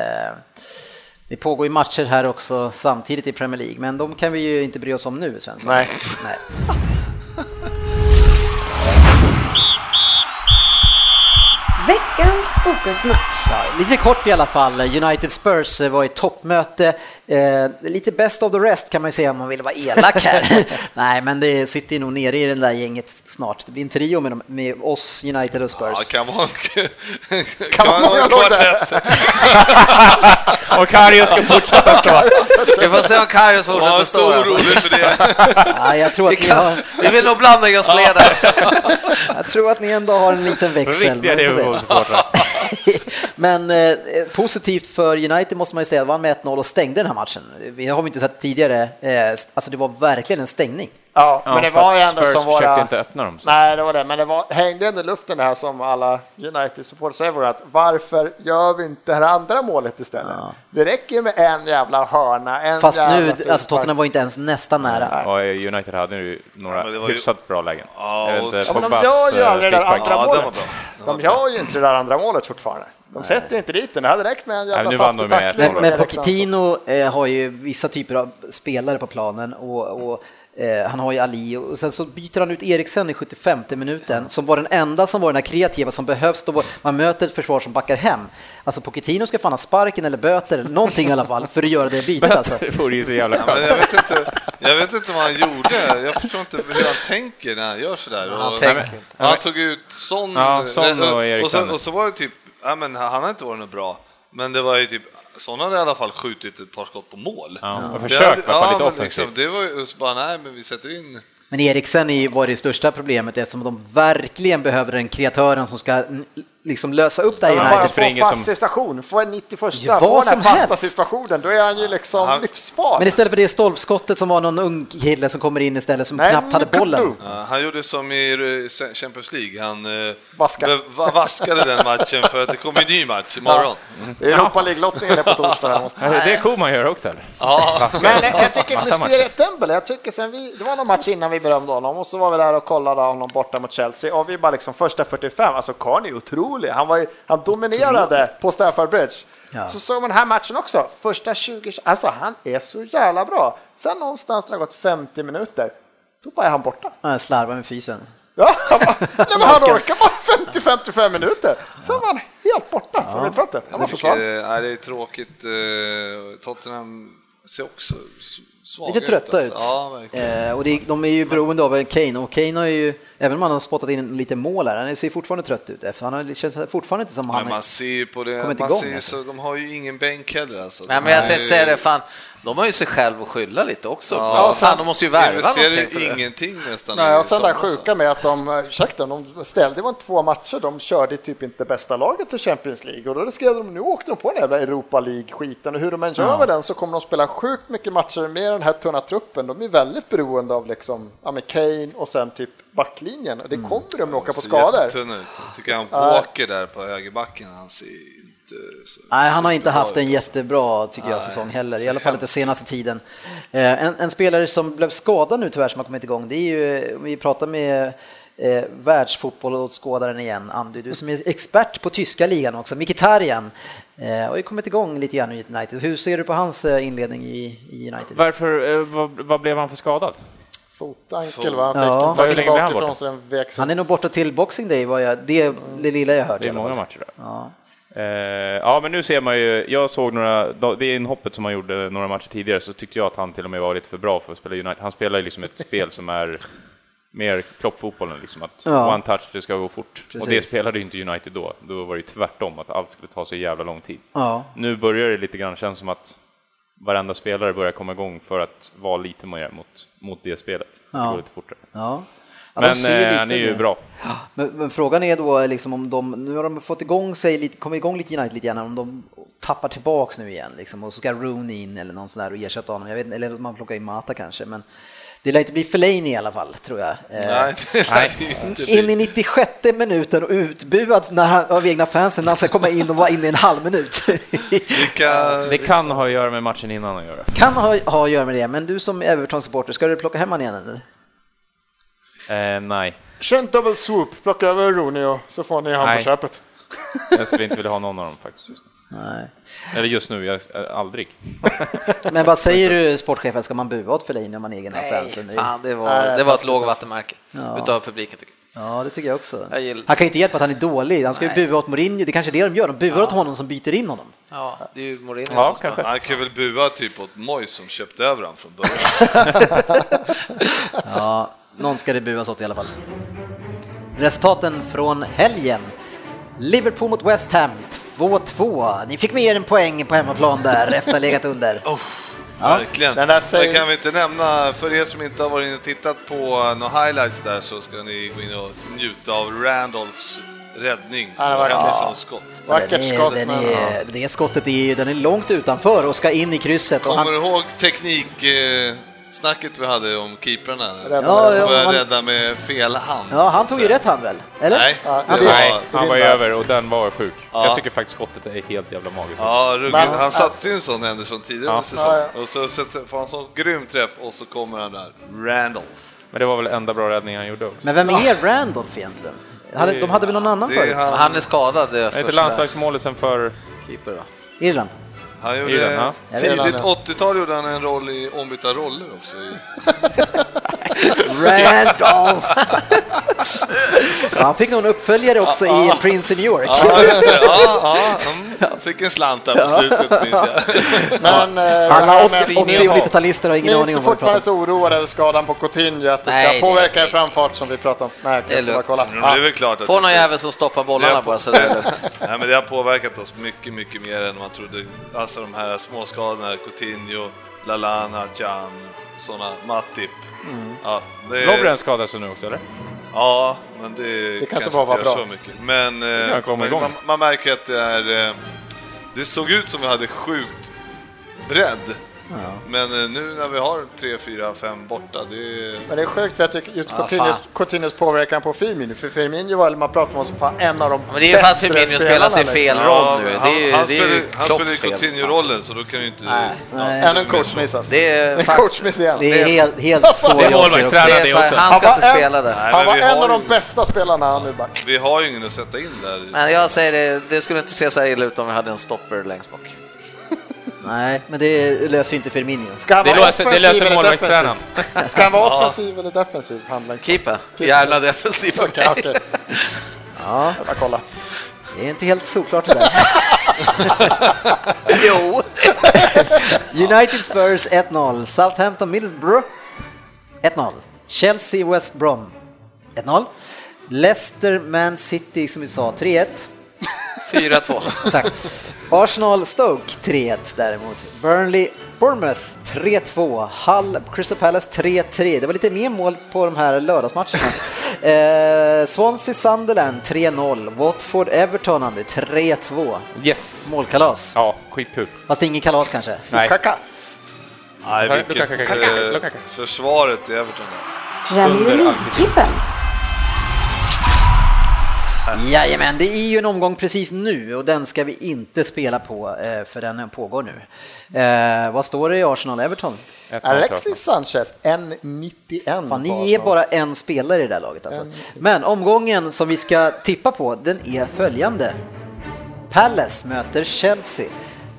det pågår ju matcher här också samtidigt i Premier League, men de kan vi ju inte bry oss om nu, Svensson.
Nej.
Nej.
Veckans fokusmatch.
Ja, lite kort i alla fall. United Spurs eh, var i toppmöte. Eh, lite best of the rest kan man ju säga om man vill vara elak här. Nej, men det sitter ju nog nere i det där gänget snart. Det blir en trio med, dem, med oss, United och Spurs.
Ja, kan vara en, kan vara en
vara där?
kvartett.
Och Karius ska fortsätta slå.
Vi får se om Karius
De har
fortsätter
en
stå
stor
här, alltså.
orolig för det.
Ja, jag, tror
Vi
att ni har,
kan- Vi vill nog blanda i oss fler där.
jag tror att ni ändå har en liten växel.
Riktiga
men vi får se.
Liverpool-supportrar.
Men eh, positivt för United måste man ju säga, vann med 1-0 och stängde den här matchen. Vi har vi inte sett tidigare, eh, alltså det var verkligen en stängning.
Ja, men det
för
var ju
att
ändå
Spurs
som
försökte
våra...
inte öppna dem. Så.
Nej, det var det, men det var, hängde ändå i luften det här som alla United-supportrar säger var att varför gör vi inte det här andra målet istället? Det räcker ju med en jävla hörna, en
Fast
jävla
nu,
frispark.
alltså Tottenham var inte ens nästan nära.
Ja, United hade ju några
Ja, men det var ju-
hyfsat bra lägen.
Ja,
Jag vet
och-
inte,
Ja, men de
Pogbas,
gör ju
eh,
aldrig det där
frispark.
andra
Ja, den var
målet.
bra.
De gör ju inte det där andra målet fortfarande. De sätter ju inte dit den, det hade räckt med en
Nej, men
jävla
nu vann
taskig
de med
tackling.
Men,
och
men
Alexander.
Pochettino eh, har ju vissa typer av spelare på planen och, och eh, han har ju Ali och sen så byter han ut Eriksen i 75 minuten som var den enda som var den här kreativa som behövs då man möter ett försvar som backar hem. Alltså Pochettino ska fan ha sparken eller böter eller någonting i alla fall för att göra det bytet alltså.
Det vore ju så jävla
Men
skönt.
jag, vet inte, jag vet inte vad han gjorde. Jag förstår inte hur han tänker när han gör sådär.
Han
Och-
tänker
Nej, men-
inte.
Han tog ut Son,
Ja, Son och
och,
Eriksen.
så, och så var det typ, ja, men han har inte varit något bra. Men det var ju typ, sådana hade i alla fall skjutit ett par skott på mål.
Ja, och
Det
försökt
hade-
i alla fall lite
men
offensivt.
Liksom, det var ju så bara, nej men vi sätter in
Men Eriksen är- var det största problemet eftersom de verkligen behöver den kreatören som ska n- liksom lösa upp det här
Ja,
Han
United
bara
United.
får en
springer
fast
som-
situation, får en 91,
Ja,
får
vad
den här
som
fasta
helst.
situationen, då är han ju liksom
Han-
livsfarlig.
Men istället för det stolpskottet som var någon ung kille som kommer in istället som
Nej,
knappt hade bollen.
kudu.
Ja, han gjorde som i eh, Champions League, han eh,
Vaska.
be- va- vaskade den matchen för att det kommer en ny match imorgon.
Europa League-lottningen är på torsdag. Här måste
Är Alltså, det det Koman gör också? Eller?
Ja.
Men jag- jag tycker
Massa
mysteriet Dembele, jag tycker sen vi, det var någon match innan vi berömde honom och så var vi där och kollade honom borta mot Chelsea och vi bara liksom första 45, alltså Karn är otrolig, han, var ju, han dominerade på Stamford Bridge.
Ja.
Så såg man den här matchen också, första 20, alltså han är så jävla bra. Sen någonstans när det har gått 50 minuter, då bara är han borta.
Ja, Slarva med fysen.
Ja, han, bara, nej, men han orkar bara 50-55 minuter, sen var han helt borta från mittfältet. Han bara
Jag tycker,
försvann.
eh, nej, det är tråkigt. eh, Tottenham ser också s- svaga
Lite trötta ut.
Alltså. Ja, verkligen.
Eh, och det, de är ju beroende av Kane och Kane har ju, även om han har spottat in lite mål här, han ser fortfarande trött ut. efter- Han har- det känns fortfarande inte som
Men
han...
man ser ju på
kommer
det,
inte
man
igång,
ser ju
alltså.
så, de har ju ingen bänk heller alltså.
Nej, men jag
De
tänkte
är
säga
ju-
det, fan, de har ju sig själv att skylla lite också.
Ja.
fan, de måste ju värva
investerar
någonting
ju
för det.
ingenting nästan.
Nej,
i
och sen den
sommar, alltså.
sjuka med att de, eh, ursäkta, de ställde, det var två matcher, de körde typ inte bästa laget till Champions League och då skrev de, nu åkte de på den jävla Europa League-skiten och hur de än gör med den så kommer de spela sjukt mycket matcher med den här tunna truppen. De är väldigt beroende av liksom, ja men Kane och sen typ backlinjen och det kommer de att åka på
Ser
skador.
alltså. jättetunn ut. Jag tycker han Walker där på högerbacken, han ser inte så
Nej, han har inte
superbra
haft en
ut, alltså.
jättebra tycker jag, säsong heller, i alla fall inte senaste tiden. Eh, En, en spelare som blev skadad nu tyvärr som har kommit igång, det är ju, om vi pratar med eh, världsfotbollsåskådaren igen, Andy, du som är expert på tyska ligan också, Mkhitaryan, eh, har ju kommit igång lite grann i United. Hur ser du på hans eh, inledning i, i United?
Varför, eh, vad, vad blev han för skadad?
Fotankel va, han fick
Ja.
ja.
Hur länge
den
blev han
bakifrån
borta?
så den vek sig.
Han är nog borta till Boxing Day, var jag, det är det lilla jag hört.
Det
i
är
alla
många
fall.
matcher där.
Ja.
Eh, ja, men nu ser man ju. Jag såg några, då- det inhoppet som han gjorde några matcher tidigare så tyckte jag att han till och med var lite för bra för att spela i United. Han spelar ju liksom ett spel som är mer kloppfotbollen, liksom att
Ja.
one touch, det ska gå fort. Och det
Precis.
spelade ju inte United då. Då var det ju tvärtom, att allt skulle ta så jävla lång tid.
Ja.
Nu börjar det lite grann känns som att varenda spelare börjar komma igång för att vara lite mer mot, mot det spelet.
Ja.
Det går lite fortare.
Ja. Ja, de
Men
ser ju
eh,
lite
han är ju
nu.
bra.
Men, men frågan är då liksom om de, nu har de fått igång sig lite, kommit igång lite United lite grann, om de tappar tillbaks nu igen liksom och så ska Rooney in eller någon sån där och ersätta honom, jag vet inte, eller om man plockar in Mata kanske, men det lär inte bli Fellaini i alla fall tror jag. Eh,
Nej, det lär ju inte bli.
In i 96 minuten och utbuad när han, av egna fansen när han ska komma in och vara inne i en halv minut.
Vilka...
Det kan ha att göra med matchen innan att göra.
kan ha, ha att göra med det, men du som Everton-supporter, ska du plocka hem honom igen eller?
Eh, nej,
Kör en double swoop, plocka över Rooney och så får ni han
Nej.
på köpet.
jag skulle inte vilja ha någon av dem faktiskt. just nu.
Nej.
Eller just nu, jag, eh, aldrig.
Men vad säger du sportchefen, ska man bua åt Fellaini om man är egen av fansen?
Fan, det var, det var ett lågvattenmärke utav publiken. Tycker jag.
Ja, det tycker jag också.
Jag gillar-
Han kan ju inte hjälpa att han är dålig. Han ska ju
Nej.
bua åt Mourinho. Det är kanske är det de gör. De buar åt honom som byter in honom.
Ja, det är ju Mourinho
Ja,
som ska...
kanske.
Han kan väl bua typ åt Moyes som köpte över honom från början.
Ja, någon ska det buas åt i alla fall. Resultaten från helgen. Liverpool mot West Ham 2-2. Ni fick med er en poäng på hemmaplan där efter att ha legat under.
Oh, Verkligen.
Den där
Det
säger-
kan vi inte nämna. För er som inte har varit inne och tittat på några highlights där så ska ni gå in och njuta av Randolphs räddning
Ja, det
och
var kul.
Hendersons skott.
Den
Vackert skott.
är, den
men-
är, det skottet är ju den är långt utanför och ska in i krysset. Och
Kommer
han,
du ihåg tekniksnacket vi hade om keeprarna?
Rädda
Ja,
Som
ja,
började
man-
rädda med fel hand.
ja, han
så
tog
att
ju
säga.
rätt hand väl? Eller?
Nej,
Ja,
det
det-
var...
Han var ju över och den var sjuk.
Ja.
Jag tycker faktiskt skottet är helt jävla magiskt.
Ja, ruggigt.
Men-
han satte ju en sån Henderson tidigare
Ja.
under
Ja,
säsongen. Och så sätter- får han en sån grym träff och så kommer han där, Randolph.
Men det var väl enda bra räddningen han gjorde också.
Men vem är Randolph egentligen? Hade- De hade väl någon annan
Det är
förut?
han,
Han är skadad, deras
är inte
första
landslagsmålisen för...
Eh.
keeper. Då.
Irland?
Han gjorde,
Irland, ja.
Jag vet
tidigt
inte.
80-tal gjorde han en roll i Ombytta roller också. i-
Randolph! Ja, han fick nog en uppföljare också i Prince i New York.
Ja, just det. Ja, ja. Mm. Jag Fick en slant där på slutet, minns jag.
Men eh, det
Alla
här
80
med-
80 och 90-talister har
Ni
ingen
är
aning om
inte
vad vi pratar om.
fortfarande så oroade över skadan på Coutinho att det ska
Nej, det är
påverka er
lugnt.
framfart som vi pratade om? Nej,
Det är
jag ska bara
lugnt.
kolla.
Men Mm, det är väl klart att
Få någon
det-
jävel som stoppar
det
bollarna
har,
bara så det är lugnt.
Nej, men det har påverkat oss mycket, mycket mer än man trodde. Alltså de här småskadorna, Coutinho, Lalana, Can, sådana, Matip. Ja, det är-
Lovren skadar sig nu också, eller?
Ja, men det, kanske
bara
inte
var
gör
bra.
så mycket. Men, eh,
kan komma
men
igång.
man, man märker att det är... eh, Det såg ut som vi hade sjukt bredd. Men eh, nu när vi har tre, fyra, fem borta, det är...
Men det är sjukt för jag tycker just
Ja,
Coutinhos,
fan.
Coutinhos påverkan på Firmino, för Firmino var, man pratar om som fan en av de
Men det är ju för att
bättre
Firmino spelar sig
spelarna,
fel
Ja,
roll nu.
han,
Det är ju,
han
det är
spelar
ju
han spelar ju
Klopps fel.
Coutinho-rollen, så då kan ju inte...
liksom. Ännu en coach missas.
Det är
en
fakt-
coachmiss igen.
Det är helt, helt så
Det är
jag ser också.
Det
målvaktstränare
är
det
för,
också.
han ska
Han
inte
var en-
spela där.
Nej,
Han
men
var
vi
en
har
av
ju-
de bästa spelarna han nu bara.
Vi har ju ingen att sätta in där.
Men jag säger det, det skulle inte se så här illa ut om vi hade en stopper längst bak.
Nej, men det löser ju inte Firmino.
Ska han
Det
vara
löser, det
offensiv
löser
eller defensiv?
målvaktstränaren.
Ska han vara offensiv eller defensiv? Handlar
Keeper. Jävla defensiv för
Okej,
mig.
okej.
Ja,
Jag bara kolla.
det är inte helt solklart det där.
Jo,
United Spurs 1-0, Southampton Middlesbrough 1-0, Chelsea West Brom 1-0, Leicester Man City som vi sa 3-1,
4-2.
Tack. Arsenal Stoke 3-1 däremot. Burnley Bournemouth 3-2. Hull Crystal Palace 3-3. Det var lite mer mål på de här lördagsmatcherna. eh, Swansea Sunderland 3-0. Watford Everton Andy 3-2.
Yes.
Målkalas.
Ja, skitkul.
Fast ingen kalas kanske.
Nej.
Kaka.
Nej,
Luka,
vilket
Luka, Luka,
eh,
Luka, Luka.
försvaret i Everton där.
Premier League-trippen.
Jajamän, det är ju en omgång precis nu och den ska vi inte spela på eh, för den pågår nu. Eh, vad står det i Arsenal Everton?
Ett mål klart.
Alexis Sanchez, 1,91.
Fan,
på
ni är
Arsenal.
bara en spelare i det här laget alltså. Men omgången som vi ska tippa på, den är följande. Palace möter Chelsea,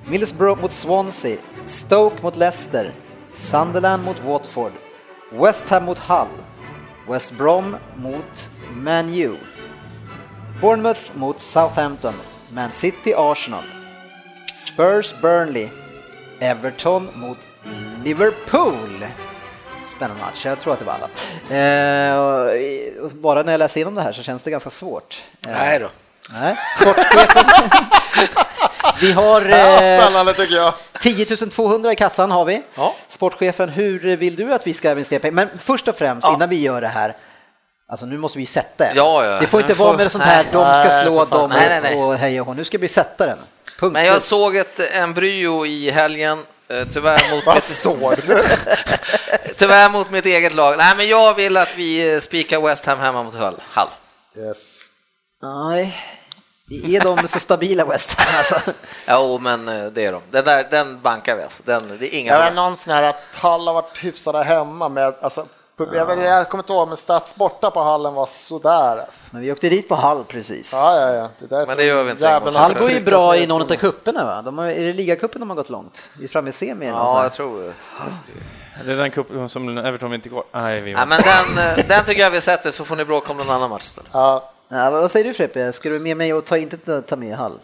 Middlesbrough mot Swansea, Stoke mot Leicester, Sunderland mot Watford, West Ham mot Hull, West Brom mot Man U, Bournemouth mot Southampton, Man City Arsenal, Spurs Burnley, Everton mot Liverpool. Spännande match, jag tror att det var alla. Eh, och- och bara när jag läser igenom det här så känns det ganska svårt. Eh,
Nej då.
Nej, sportchefen. Vi har
Ja,
eh,
spännande tycker jag.
10 200 i kassan har vi. Sportchefen, hur vill du att vi ska investera pengar? Men först och främst, innan vi gör det här, alltså nu måste vi sätta den.
Ja, ja.
Det får inte
Men
vara
får-
med sånt här,
nej.
de ska slå
Nej, för fan.
dem
Nej, nej, nej.
och hej och hå. Nu ska vi sätta den. Punkt
Men jag
slut.
såg ett embryo i helgen, eh, tyvärr mot
Vad
mitt-
såg du?
Tyvärr mot mitt eget lag. Nej, men jag vill att vi eh, spikar West Ham hemma mot Hull. Hull.
Yes.
Nej. Är de så stabila West Ham alltså?
Jo, men eh, det är de. Den, där, den bankar vi alltså. Den, det är inga
Jag var
problem.
någon sån här att Hall har varit hyfsade hemma med, alltså, pub- jag, vet- jag kommer inte ihåg, men stats borta på hallen var sådär. Alltså.
Men vi åkte dit på Hall precis.
Ja, ja, ja. Det är därför
Men det gör vi inte.
jävlarna ska
Hall går ju
tryckas
bra
ner
i någon av
skolan.
cuperna va? De har, är det ligacupen de har gått långt? Vi är framme i semi eller något sånt
Ja,
här.
jag tror det.
Det är den cupen som Everton inte går. Nej, vi
Nej, men den, eh, den tycker jag vi sätter så får ni bråka om någon annan match istället.
Ja,
Ja, vad säger du Freppe, ska du med mig och ta, inte ta- ta med Hall?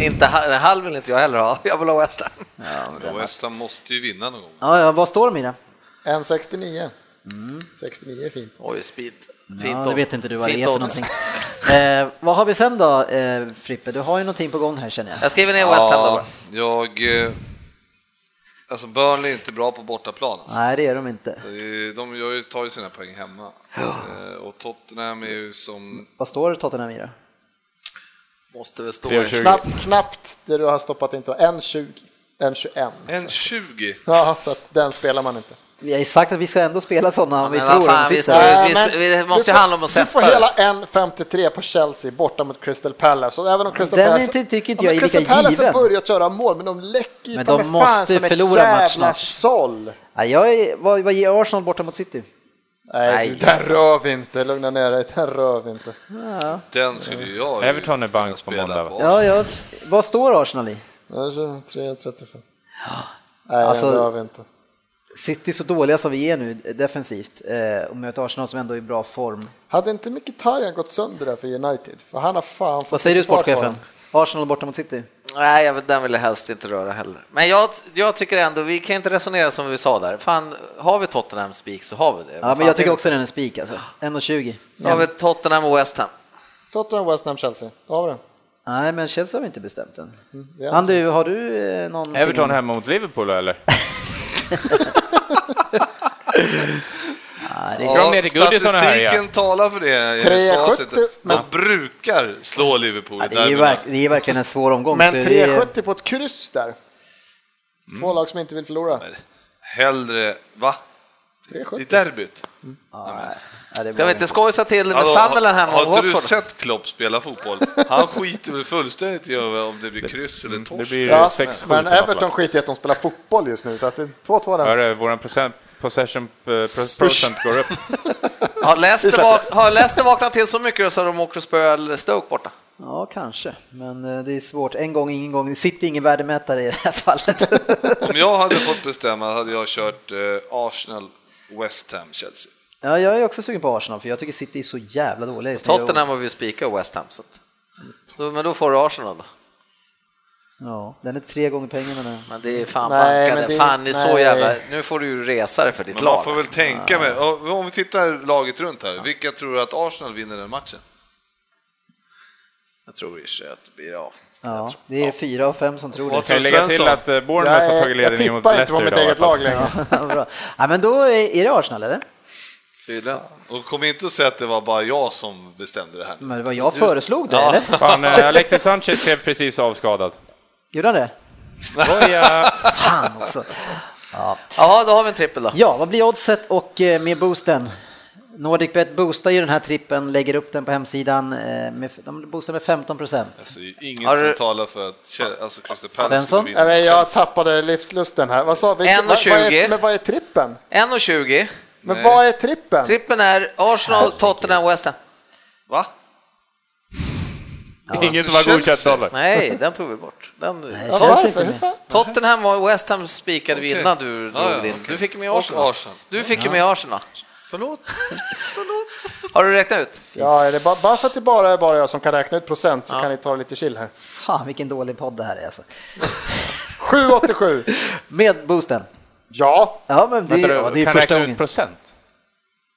Inte Hull, Hull vill inte jag heller ha. Jag vill ha West Ham.
Och West Ham måste ju vinna någon gång.
Ja, ja vad står de i det?
1,69. 69 Mm. är fint.
Oj, speed. Fint
Ja, det
odds.
vet inte du vad det är
Fint
för
odds.
någonting. Eh, vad har vi sen då eh, Frippe? Du har ju någonting på gång här känner jag.
Jag skriver ner West Ham då. bara.
jag... eh, Alltså Burnley är inte bra på bortaplan. Alltså.
Nej, det är de inte.
Det är- Eh, De gör ju- tar ju sina poäng hemma. Eh, Och Tottenham är ju som...
Vad står det Tottenham i då?
Måste väl stå.
3,20.
i-
Knappt, knappt det du har stoppat in då. 1,20. 1,21.
En 20!
Ja, så att den spelar man inte.
Vi har ju sagt att vi ska ändå spela sådana om vi
men vad
tror
fan,
att de
vi
sitter.
ska-
där.
vi- det måste ju handla om att
det. Du får
sätta
hela 1,53 på Chelsea borta mot Crystal Palace. Och även om Crystal
Den är
Palace,
inte- tycker inte
Ja,
jag
men
är lika
Crystal Palace
given.
har börjat göra mål, men de läcker ju
Men
ta
de
mig
måste
fan som
förlora
ett
match
jävla
snart.
såll.
Nej, jag är, vad, vad ger Arsenal borta mot City?
Nej,
Nej.
du, den rör vi inte. Lugna ner dig, den rör vi inte.
Den skulle ju jag
Everton är
kunna
bank på
spela
måndag, va?
Ja, jag, vad står Arsenal i?
Den är 23, 35. Nej,
Alltså-
den rör vi inte.
City så dåliga som vi är nu defensivt eh, och möter Arsenal som ändå är i bra form.
Hade inte Mkhitaryan gått sönder där för United? För han har fan fått
Vad säger du
fart på
sportchefen?
honom.
Arsenal borta mot City?
Nej, jag vill, den vill jag helst inte röra heller. Men jag, jag tycker ändå, vi kan inte resonera som vi sa där. Fan, har vi Tottenham spik så har vi det.
Ja,
Fan,
men jag tycker
det-
också den är spik alltså. 1,20.
Då har vi Tottenham och West Ham.
Tottenham, West Ham, Chelsea. Då har vi den.
Nej, men Chelsea har vi inte bestämt än.
vi har-
Andu, har du eh, någon?
Everton hemma mot Liverpool eller? Drar de ner till Goodison och härjar?
statistiken talar för det. enligt
3,70,
facitet.
men-
De brukar slå Liverpool
Ja,
i
det, är ju
derbyna.
verk, det är verkligen en svår omgång.
Men
så det-
3,70 på ett kryss där. Två lag som inte vill förlora.
Hellre, va? I
3,70.
derbyt?
Ja, det är
Ska
bra.
vi inte skojsa till med
Hallå,
Sunderland här mot
har inte du
Watford?
sett Klopp spela fotboll? Han skiter väl fullständigt i om det blir kryss eller
Mm, Det
torsk.
blir
Ja,
6-7
men
till Napoli.
Everton skiter i att de spelar fotboll just nu, så att det är 2-2
Hör
där.
du, våran procent, possession eh, pro- procent går upp.
Har Leicester, vak- har Leicester vaknat till så mycket så de åker och spöar Stoke borta?
Ja, kanske. Men eh, det är svårt. En gång, ingen gång. Det sitter ingen värdemätare i det här fallet.
Om jag hade fått bestämma hade jag kört eh, Arsenal, West Ham, Chelsea.
ja, jag är också sugen på Arsenal, för jag tycker City är så jävla dåliga just nu.
Tottenham har vi spikat och West Ham. Så. att- Så, men då får du Arsenal då.
Ja, den är tre gånger pengarna nu.
Men det är fan
Nej,
bankade.
men det-
fan, ni är så
nej.
jävla... Nu får du ju resa dig för ditt
Men
lag. alltså.
man får väl tänka med, om om vi tittar laget runt här, vilka tror att Arsenal vinner den matchen?
Jag tror i sig att det blir av.
Ja, det är fyra av fem som tror det.
Vad
Kan
tror
jag lägga till
Svensson?
att eh, Bournemouth har
Jag,
tagit
är, jag
ledningen mot
tippar inte på
Leicester
mitt
idag. i alla
eget
fall.
lag längre.
Bra. Ja, men då är är det Arsenal eller?
Tydligen.
Och kom inte och säg att det var bara jag som bestämde det här.
Men det var jag föreslog det eller?
Fan, eh, Alexis Sanchez skrev precis avskadad.
Gjorde han det?
Skoja!
Fan också.
Ja, då har vi en trippel då.
Ja, vad blir oddset och eh, med boosten? Nordicbet boostar ju den här trippen, lägger upp den på hemsidan. eh, Med, de boostar med 15 procent.
Alltså, inget
Har du-
som talar för att Chel- alltså, Crystal Palace
Svensson?
skulle vinna.
Nej, jag tappade livslusten här. Vad sa vi?
1,20.
Vad- vad är- Men vad är trippen?
1.20.
Men
Nej.
vad är trippen?
Trippen är Arsenal, Tottenham, West Ham.
Va?
Ingen som har
Chelsea.
godkänt dollar.
Nej, den tog vi bort. Den...
Ja,
Känns
varför?
inte
Hur
med.
fan?
Tottenham och West Ham spikade vi
Okej.
innan du drog
Ja, ja,
din. Du
okej.
fick ju med
Och
Arsenal.
Arsenal.
Du fick ju med Arsenal.
Förlåt?
Har du räknat ut?
Ja, är det bara, bara för att det bara är bara jag som kan räkna ut procent så kan ni ta det lite chill här.
Fan vilken dålig podd det här är alltså.
787.
Med boosten.
Ja,
Ja, men det, är-
Vänta,
ja,
du,
det är
kan
första
räkna
gången.
ut procent?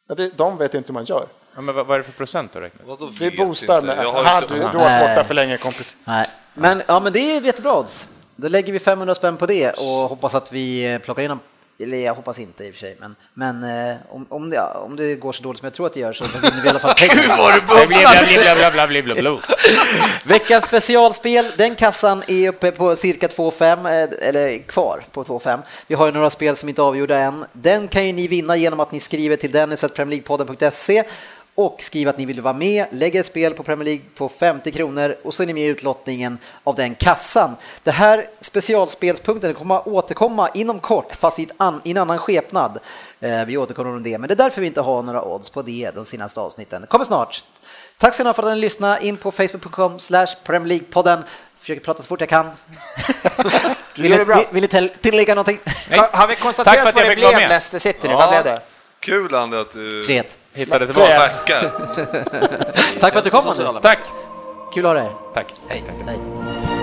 Ja, det- de vet inte hur man gör.
Ja, men vad, vad är det för procent du räknar?
Vadå
Vi
vet
boostar
inte?
med...
Jag
Ah,
har
du,
inte...
du har
Nej.
varit där för länge kompis.
Nej. Men, ja, men det är jättebra odds. Då lägger vi 500 spänn på det och hoppas att vi eh, plockar in dem. Eller jag hoppas inte i och för sig, men, men eh, om, om, det, om det går så dåligt som jag tror att det gör så vinner vi i alla fall pengar.
Var du
Blablabla.
Veckans specialspel, den kassan är uppe på cirka 2,5 eh, eller kvar på 2,5. Vi har ju några spel som inte är avgjorda än. Den kan ju ni vinna genom att ni skriver till dennis.premierleaguepodden.se och skriver att ni vill vara med, lägger ett spel på Premier League på 50 kronor och så är ni med i utlottningen av den kassan. Det här specialspelspunkten kommer att återkomma inom kort fast i, ett an, i en annan skepnad. Eh, vi återkommer om det, men det är därför vi inte har några odds på det de senaste avsnitten. Kommer snart. Tack ska ni ha för att ni lyssnade. In på facebook.com slash Premier League-podden. Försöker prata så fort jag kan. vill,
gör
ni,
det bra.
vill, vill ni till- tillägga någonting?
Har, har vi
Tack
konstaterat
för att
vad
jag
det
fick vara
blev
med.
Leicester City nu? Vad blev det?
Kul Andy att du
3
Hittade tillbaka.
backar.
Tack för att du kom. Anders.
Tack!
Kul att ha dig här.
Tack.
Hej.